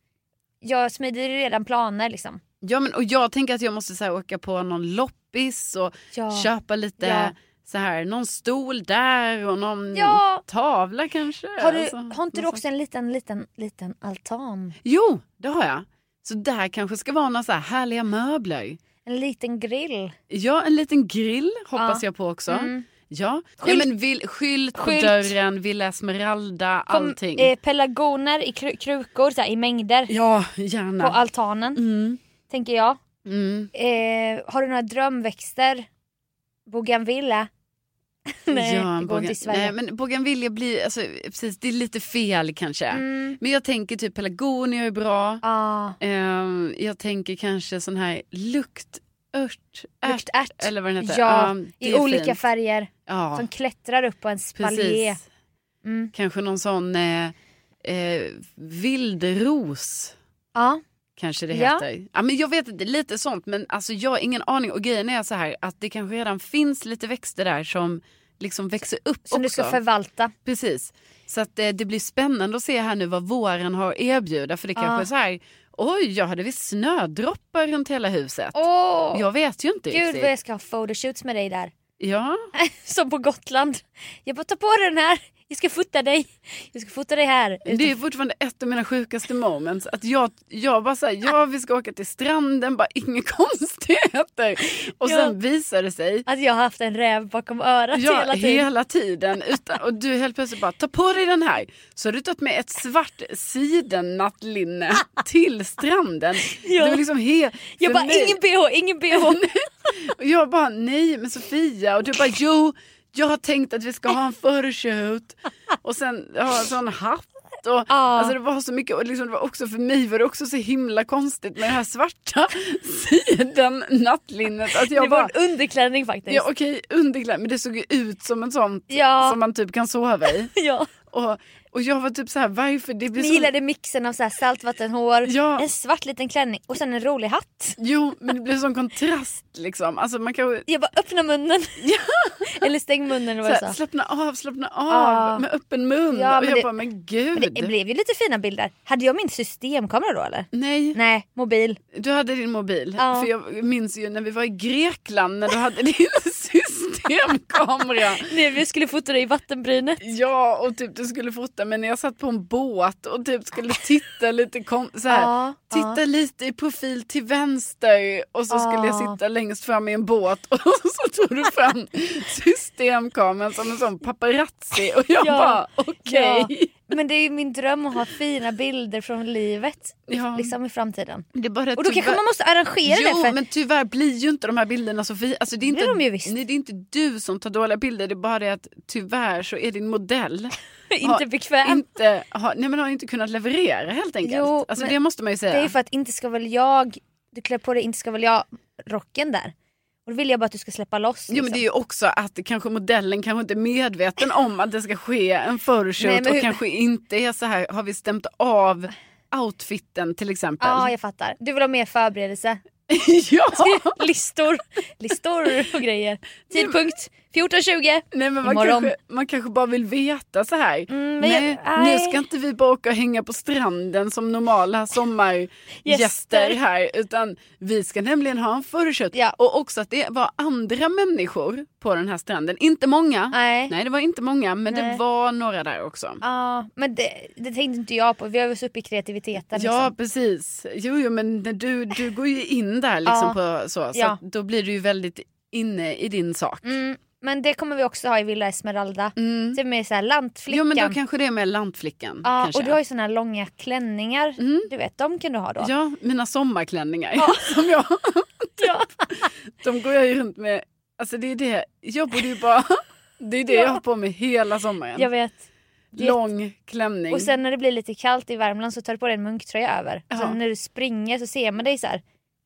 Speaker 2: Jag smider ju redan planer liksom.
Speaker 1: ja, men och jag tänker att jag måste så här, åka på någon loppis och
Speaker 2: Ja.
Speaker 1: köpa lite
Speaker 2: Ja.
Speaker 1: så här, någon stol där och någon
Speaker 2: Ja.
Speaker 1: tavla kanske.
Speaker 2: Har, du,
Speaker 1: alltså,
Speaker 2: har inte du
Speaker 1: något
Speaker 2: också en liten, liten, liten altan?
Speaker 1: Jo, det har jag. Så där kanske ska vara några så här härliga möbler.
Speaker 2: En liten grill?
Speaker 1: Ja, en liten grill hoppas
Speaker 2: Ja.
Speaker 1: jag på också.
Speaker 2: Mm.
Speaker 1: Ja.
Speaker 2: Skylt.
Speaker 1: ja, men vill, skylt,
Speaker 2: Skylt.
Speaker 1: på dörren, Villa Esmeralda,
Speaker 2: Kom,
Speaker 1: allting.
Speaker 2: eh, pelargoner i kru- krukor så här, i mängder
Speaker 1: ja,
Speaker 2: på
Speaker 1: gärna.
Speaker 2: altanen
Speaker 1: mm.
Speaker 2: tänker jag.
Speaker 1: Mm.
Speaker 2: Eh, har du några drömväxter? Bougainvillea? Nej
Speaker 1: ja,
Speaker 2: det går inte i
Speaker 1: Bogan- Nej,
Speaker 2: Sverige.
Speaker 1: men bougainvillea blir, alltså, precis, det är lite fel kanske.
Speaker 2: mm.
Speaker 1: Men jag tänker typ pelargonier är bra.
Speaker 2: ah,
Speaker 1: Ehm, jag tänker kanske sån här luktört,
Speaker 2: lukt ärt.
Speaker 1: eller vad den heter.
Speaker 2: Ja,
Speaker 1: det
Speaker 2: I
Speaker 1: är
Speaker 2: olika
Speaker 1: fint.
Speaker 2: färger
Speaker 1: Ja.
Speaker 2: som klättrar upp på en spaljé.
Speaker 1: Precis.
Speaker 2: Mm.
Speaker 1: Kanske någon sån eh, eh, vildros
Speaker 2: Ja.
Speaker 1: kanske det
Speaker 2: Ja.
Speaker 1: heter. Ja, men jag vet inte, lite sånt. Men alltså, jag har ingen aning. Och grejen är så här att det kanske redan finns lite växter där som liksom växer upp
Speaker 2: Som
Speaker 1: också.
Speaker 2: du ska förvalta.
Speaker 1: Precis. Så att, eh, det blir spännande att se här nu vad våren har att erbjuda. För det kanske
Speaker 2: Ja.
Speaker 1: är så här, oj, jag hade visst snödroppar runt hela huset.
Speaker 2: Åh!
Speaker 1: Jag vet ju inte
Speaker 2: Gud
Speaker 1: riktigt.
Speaker 2: vad jag ska ha photoshoots med dig där.
Speaker 1: Ja,
Speaker 2: Som på Gotland. Jag bara tar på dig den här. Jag ska fota dig. Jag ska fota dig här.
Speaker 1: Det är fortfarande ett av mina sjukaste moments. Att jag, jag bara såhär, ja vi ska åka till stranden, bara inga konstigheter. Och
Speaker 2: Ja.
Speaker 1: sen visar det sig,
Speaker 2: Att jag har haft en räv bakom örat
Speaker 1: ja
Speaker 2: hela
Speaker 1: hela
Speaker 2: tiden.
Speaker 1: tiden, utan, och du helt plötsligt bara, ta på dig den här. Så har du tagit med ett svart sidennattlinne till stranden.
Speaker 2: Ja.
Speaker 1: Det var liksom helt,
Speaker 2: jag
Speaker 1: för
Speaker 2: bara
Speaker 1: mig-
Speaker 2: ingen bh, ingen bh.
Speaker 1: och jag bara, nej men Sofia. Och du bara, jo, jag har tänkt att vi ska ha en photoshoot. Och sen ha en sån hatt. Och, Alltså det var så mycket, och liksom, det var också för mig var det också så himla konstigt med det här svarta siden nattlinnet. Att jag
Speaker 2: det
Speaker 1: bara,
Speaker 2: var en underklänning faktiskt.
Speaker 1: ja
Speaker 2: Ja.
Speaker 1: okej underkläder, men det såg ju ut som en sån
Speaker 2: Ja.
Speaker 1: som man typ kan sova i. Och, och jag var typ så här, varför? Det blir
Speaker 2: Vi
Speaker 1: så...
Speaker 2: gillade mixen av så här saltvattenhår,
Speaker 1: Ja.
Speaker 2: en svart liten klänning och sen en rolig hatt.
Speaker 1: Jo, men det blir sån kontrast liksom. Alltså man kan
Speaker 2: Jag bara öppna munnen. eller stäng munnen eller
Speaker 1: så
Speaker 2: vad jag
Speaker 1: här,
Speaker 2: sa.
Speaker 1: slappna av, slappna av
Speaker 2: Ja.
Speaker 1: med öppen mun.
Speaker 2: Ja,
Speaker 1: och
Speaker 2: men
Speaker 1: jag
Speaker 2: det-
Speaker 1: bara, men gud.
Speaker 2: Men det blev ju lite fina bilder. Hade jag min systemkamera då eller?
Speaker 1: Nej,
Speaker 2: Nej, mobil.
Speaker 1: du hade din mobil.
Speaker 2: Ja.
Speaker 1: För jag minns ju när vi var i Grekland när du hade din systemkamera.
Speaker 2: Nej, vi skulle fota dig i vattenbrynet.
Speaker 1: Ja, och typ du skulle fota men jag satt på en båt och typ skulle titta lite kom, så här,
Speaker 2: Ja,
Speaker 1: Titta lite i profil till vänster och så skulle jag
Speaker 2: Ja.
Speaker 1: sitta längst fram i en båt och så tog du fram systemkameran som en sån paparazzi och jag
Speaker 2: Ja.
Speaker 1: bara okej.
Speaker 2: Ja, men det är ju min dröm att ha fina bilder från livet
Speaker 1: Ja.
Speaker 2: liksom i framtiden.
Speaker 1: Det är bara
Speaker 2: Och då kanske
Speaker 1: tyvärr-
Speaker 2: man måste arrangera det
Speaker 1: Jo,
Speaker 2: för
Speaker 1: men tyvärr blir ju inte de här bilderna Sofie. Alltså, det, är
Speaker 2: Det
Speaker 1: inte,
Speaker 2: är de ju visst.
Speaker 1: Nej, det är inte du som tar dåliga bilder, det är bara det att tyvärr så är din modell
Speaker 2: inte
Speaker 1: har
Speaker 2: bekväm.
Speaker 1: inte, har, nej, men har inte kunnat leverera helt enkelt.
Speaker 2: Jo,
Speaker 1: alltså,
Speaker 2: men
Speaker 1: det måste man ju säga.
Speaker 2: Det är ju för att inte ska väl jag, du klär på dig inte ska väl jag rocken där. Och då vill jag bara att du ska släppa loss.
Speaker 1: Jo men det är ju också att kanske modellen kanske inte är medveten om att det ska ske en
Speaker 2: Nej,
Speaker 1: photoshoot
Speaker 2: men
Speaker 1: och
Speaker 2: hur-
Speaker 1: kanske inte är så här, har vi stämt av outfiten till exempel.
Speaker 2: Ja, jag fattar. Du vill ha mer förberedelse.
Speaker 1: ja.
Speaker 2: Listor, listor och grejer. Tidpunkt 14.20.
Speaker 1: Nej, men man,
Speaker 2: Imorgon.
Speaker 1: kanske, man kanske bara vill veta så här.
Speaker 2: Mm, men jag-
Speaker 1: Nej, nu
Speaker 2: nej.
Speaker 1: ska inte vi bara åka och hänga på stranden som normala sommargäster
Speaker 2: Gäster.
Speaker 1: här. Utan vi ska nämligen ha en förköt.
Speaker 2: Ja.
Speaker 1: Och också att det var andra människor på den här stranden. Inte många.
Speaker 2: Nej.
Speaker 1: det var inte många. Men det
Speaker 2: Nej.
Speaker 1: var några där också.
Speaker 2: Ja, men det, det tänkte inte jag på. Vi har ju så uppe i kreativiteten.
Speaker 1: Ja,
Speaker 2: liksom.
Speaker 1: precis. Jo, jo men när du, du går ju in där liksom på så. Så
Speaker 2: Ja.
Speaker 1: att då blir du ju väldigt inne i din sak.
Speaker 2: Mm, men det kommer vi också ha i Villa Esmeralda.
Speaker 1: Mm.
Speaker 2: Typ med så här lantflickan.
Speaker 1: Jo, men då kanske det är med lantflickan.
Speaker 2: ja,
Speaker 1: kanske. Mm.
Speaker 2: och du har ju såna här långa klänningar. Du vet, de kan du ha då.
Speaker 1: Ja, mina sommarklänningar. Som jag,
Speaker 2: Ja.
Speaker 1: de går jag ju runt med. Alltså det är det, jag borde ju bara... Det är det jag har på mig hela sommaren.
Speaker 2: Jag vet.
Speaker 1: Lång klänning.
Speaker 2: Och sen när det blir lite kallt i Värmland så tar du på dig en munktröja över.
Speaker 1: Ja.
Speaker 2: Så när du springer så ser man dig så här.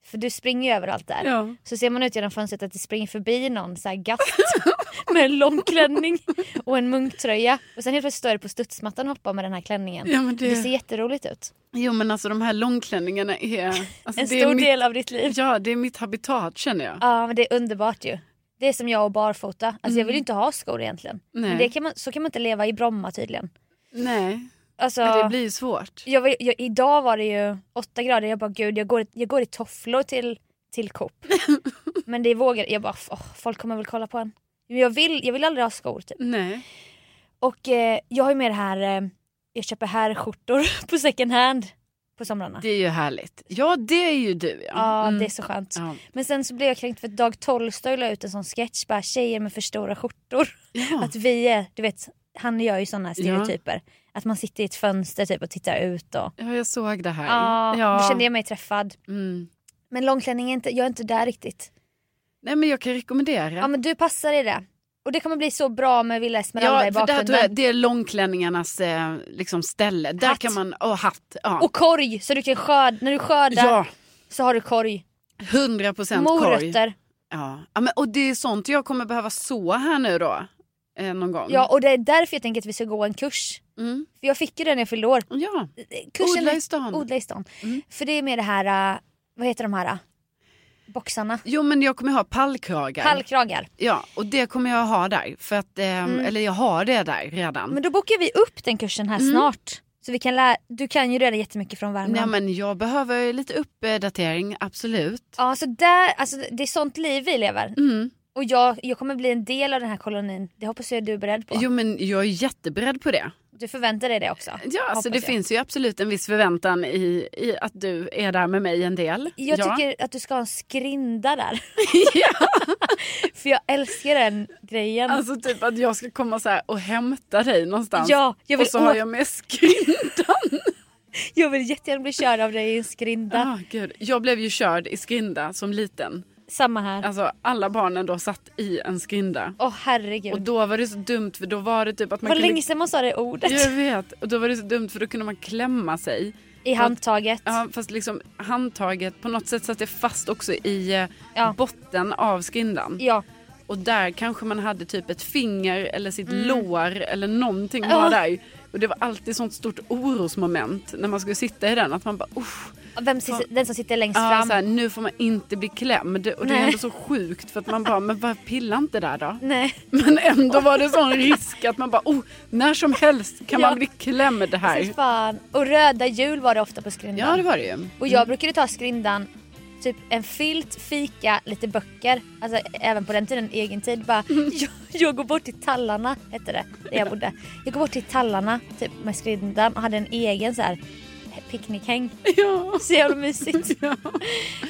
Speaker 2: För du springer ju överallt där.
Speaker 1: ja.
Speaker 2: Så ser man ut genom fönstret att det springer förbi någon så här gatt med en lång klänning och en munktröja. Och sen helt plötsligt står du på studsmattan och hoppar med den här klänningen.
Speaker 1: Ja, men det-
Speaker 2: det ser jätteroligt ut.
Speaker 1: Jo men alltså de här långklänningarna är... Alltså,
Speaker 2: En
Speaker 1: det är
Speaker 2: stor
Speaker 1: mitt,
Speaker 2: del av ditt liv.
Speaker 1: Ja, det är mitt habitat känner jag.
Speaker 2: Ja men det är underbart ju. Det är som jag och barfota. Alltså jag vill ju inte ha skor egentligen.
Speaker 1: Mm. Nej.
Speaker 2: Men det kan man, så kan man inte leva i Bromma tydligen.
Speaker 1: Nej,
Speaker 2: Alltså,
Speaker 1: men det blir ju svårt.
Speaker 2: jag, var- jag, idag var det ju åtta grader jag bara gud jag går, jag går i tofflor till, till Coop. men det vågar jag bara åh, folk kommer väl kolla på en. Men Jag vill, jag vill aldrig ha skor typ.
Speaker 1: Nej.
Speaker 2: Och eh, jag har ju med det här, eh, jag köper här skjortor på second hand på somrarna.
Speaker 1: Det är ju härligt. Ja, det är ju du ja.
Speaker 2: Ja
Speaker 1: Mm.
Speaker 2: det är så skönt.
Speaker 1: Ja.
Speaker 2: Men sen så blev jag kränkt för att Dag Tolstoy la ut en sån sketch bara tjejer med för stora skjortor. Att vi är, du vet han gör ju såna stereotyper. Att man sitter i ett fönster typ och tittar ut och
Speaker 1: ja, jag såg det här.
Speaker 2: ja,
Speaker 1: ja.
Speaker 2: då kände jag mig träffad.
Speaker 1: mm.
Speaker 2: Men långklänning är inte, jag är inte där riktigt.
Speaker 1: Nej men jag kan rekommendera.
Speaker 2: Ja men du passar i det. Och det kommer bli så bra med Villa Esmeralda
Speaker 1: Ja,
Speaker 2: i
Speaker 1: för där tror
Speaker 2: bakgrunden.
Speaker 1: jag, det är långklänningarnas eh, liksom ställe. Där
Speaker 2: Hatt.
Speaker 1: kan man, och hatt. Ja.
Speaker 2: Och korg, så du kan skörda, när du skördar
Speaker 1: ja,
Speaker 2: så har du korg.
Speaker 1: 100 procent korg.
Speaker 2: Morötter.
Speaker 1: Ja. Ja, men, och det är sånt jag kommer behöva så här nu då. Eh, någon gång.
Speaker 2: Ja och det är därför jag tänker att vi ska gå en kurs.
Speaker 1: Mm.
Speaker 2: För jag fick ju den när jag fyllde år.
Speaker 1: ja.
Speaker 2: Kursen
Speaker 1: Odla i stan.
Speaker 2: Odla i stan.
Speaker 1: Mm.
Speaker 2: För det är med det här, äh, vad heter de här äh, boxarna?
Speaker 1: Jo men jag kommer ha pallkragar.
Speaker 2: Pallkragar.
Speaker 1: Ja, och det kommer jag ha där. För att, eh, Eller jag har det där redan.
Speaker 2: Mm. Men då bokar vi upp den kursen här
Speaker 1: Mm.
Speaker 2: snart. Så vi kan lära, du kan ju redan jättemycket från Värmland.
Speaker 1: Nej, men jag behöver lite uppdatering, absolut.
Speaker 2: Ja så där, alltså, det är sånt liv vi lever.
Speaker 1: Mm.
Speaker 2: Och jag, jag kommer bli en del av den här kolonin. Det hoppas jag du är beredd på.
Speaker 1: Jo men jag är jätteberedd på det.
Speaker 2: Du förväntar dig det också.
Speaker 1: Ja,
Speaker 2: hoppas
Speaker 1: alltså det
Speaker 2: jag.
Speaker 1: finns ju absolut en viss förväntan i, i att du är där med mig en del.
Speaker 2: Jag
Speaker 1: ja.
Speaker 2: tycker att du ska ha en skrinda där. För jag älskar den grejen.
Speaker 1: Alltså typ att jag ska komma så här och hämta dig någonstans.
Speaker 2: Ja, jag vill
Speaker 1: och så har
Speaker 2: åt-
Speaker 1: jag med skrindan.
Speaker 2: Jag vill jättegärna bli körd av dig i en skrinda.
Speaker 1: Ah, gud. Jag blev ju körd i skrinda som liten.
Speaker 2: Samma här. Åh
Speaker 1: Alltså alla barnen då satt i en skrinda.
Speaker 2: herregud.
Speaker 1: Och då var det så dumt för då var det typ att man
Speaker 2: Vad
Speaker 1: kunde...
Speaker 2: länge sedan man sa det ordet.
Speaker 1: Jag vet. Och då var det så dumt för då kunde man klämma sig.
Speaker 2: I handtaget.
Speaker 1: Ja, fast liksom handtaget på något sätt satt det fast också i eh,
Speaker 2: Ja.
Speaker 1: botten av skrindan.
Speaker 2: Ja.
Speaker 1: Och där kanske man hade typ ett finger eller sitt lår eller någonting
Speaker 2: Ja.
Speaker 1: var där. Och det var alltid sånt stort orosmoment när man skulle sitta i den. Att man bara usch,
Speaker 2: Vem, si- den som sitter längst
Speaker 1: ja,
Speaker 2: fram.
Speaker 1: så här, nu får man inte bli klämd. Och det är
Speaker 2: Nej.
Speaker 1: ändå så sjukt för att man bara, men varför pilla inte där då?
Speaker 2: Nej.
Speaker 1: Men ändå var det sån risk att man bara, oh, när som helst kan
Speaker 2: Ja.
Speaker 1: man bli klämd
Speaker 2: Så
Speaker 1: här.
Speaker 2: fan. Och röda hjul var det ofta på skrindan.
Speaker 1: Ja det var det ju.
Speaker 2: Och jag brukade ta skrindan, typ en filt, fika, lite böcker. Alltså även på den tiden, egen tid. Bara,
Speaker 1: Mm.
Speaker 2: jag, jag går bort till tallarna, hette det, där jag bodde. Jag går bort till tallarna typ, med skrindan och hade en egen så här picknickhäng.
Speaker 1: Ja.
Speaker 2: Så jävla mysigt.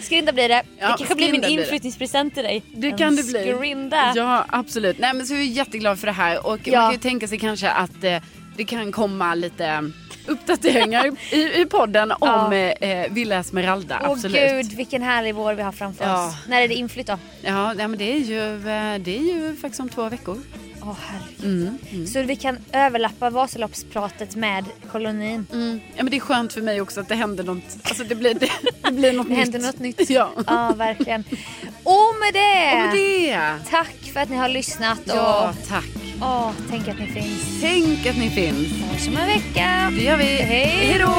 Speaker 2: Skrinda blir det.
Speaker 1: Ja,
Speaker 2: det kanske blir min
Speaker 1: skrinda blir det.
Speaker 2: inflyttningspresent till dig.
Speaker 1: Det
Speaker 2: en
Speaker 1: kan det bli.
Speaker 2: Skrinda.
Speaker 1: Ja, absolut. Nej, men så är vi jätteglada för det här. Och
Speaker 2: Ja.
Speaker 1: man kan ju tänka sig kanske att eh, det kan komma lite uppdateringar i, i podden om eh, Villa Esmeralda.
Speaker 2: Åh
Speaker 1: absolut.
Speaker 2: gud vilken härlig vår vi har framför
Speaker 1: Ja.
Speaker 2: oss. När är det inflytt då?
Speaker 1: Ja, nej, men det är, ju, eh, det är ju faktiskt om två veckor.
Speaker 2: Åh herregud.
Speaker 1: Mm,
Speaker 2: Så vi kan överlappa Vasaloppspratet med kolonin.
Speaker 1: Ja, men det är skönt för mig också att det händer något. Alltså det blir, det, det blir något
Speaker 2: Det
Speaker 1: nytt.
Speaker 2: händer något nytt.
Speaker 1: Ja.
Speaker 2: Ja verkligen. Och med det!
Speaker 1: Och med det.
Speaker 2: Tack för att ni har lyssnat och
Speaker 1: Ja, tack.
Speaker 2: Åh, tänk att ni finns.
Speaker 1: Tänk att ni finns.
Speaker 2: Hörs om en vecka.
Speaker 1: Det gör vi.
Speaker 2: Hej
Speaker 1: då!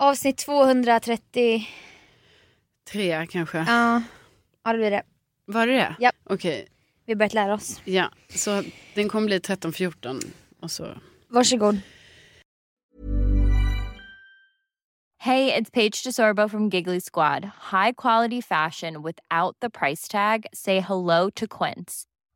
Speaker 2: Avsnitt 230.
Speaker 1: Tre kanske.
Speaker 2: Ja. Ja det blir det.
Speaker 1: Var det det?
Speaker 2: Japp.
Speaker 1: Okej,
Speaker 2: Vi har börjat lära oss.
Speaker 1: ja. Så den kommer bli 13-14 och så.
Speaker 2: Varsågod.
Speaker 3: Hey, it's Paige DeSorbo from Giggly Squad. High quality fashion without the price tag. Say hello to Quince.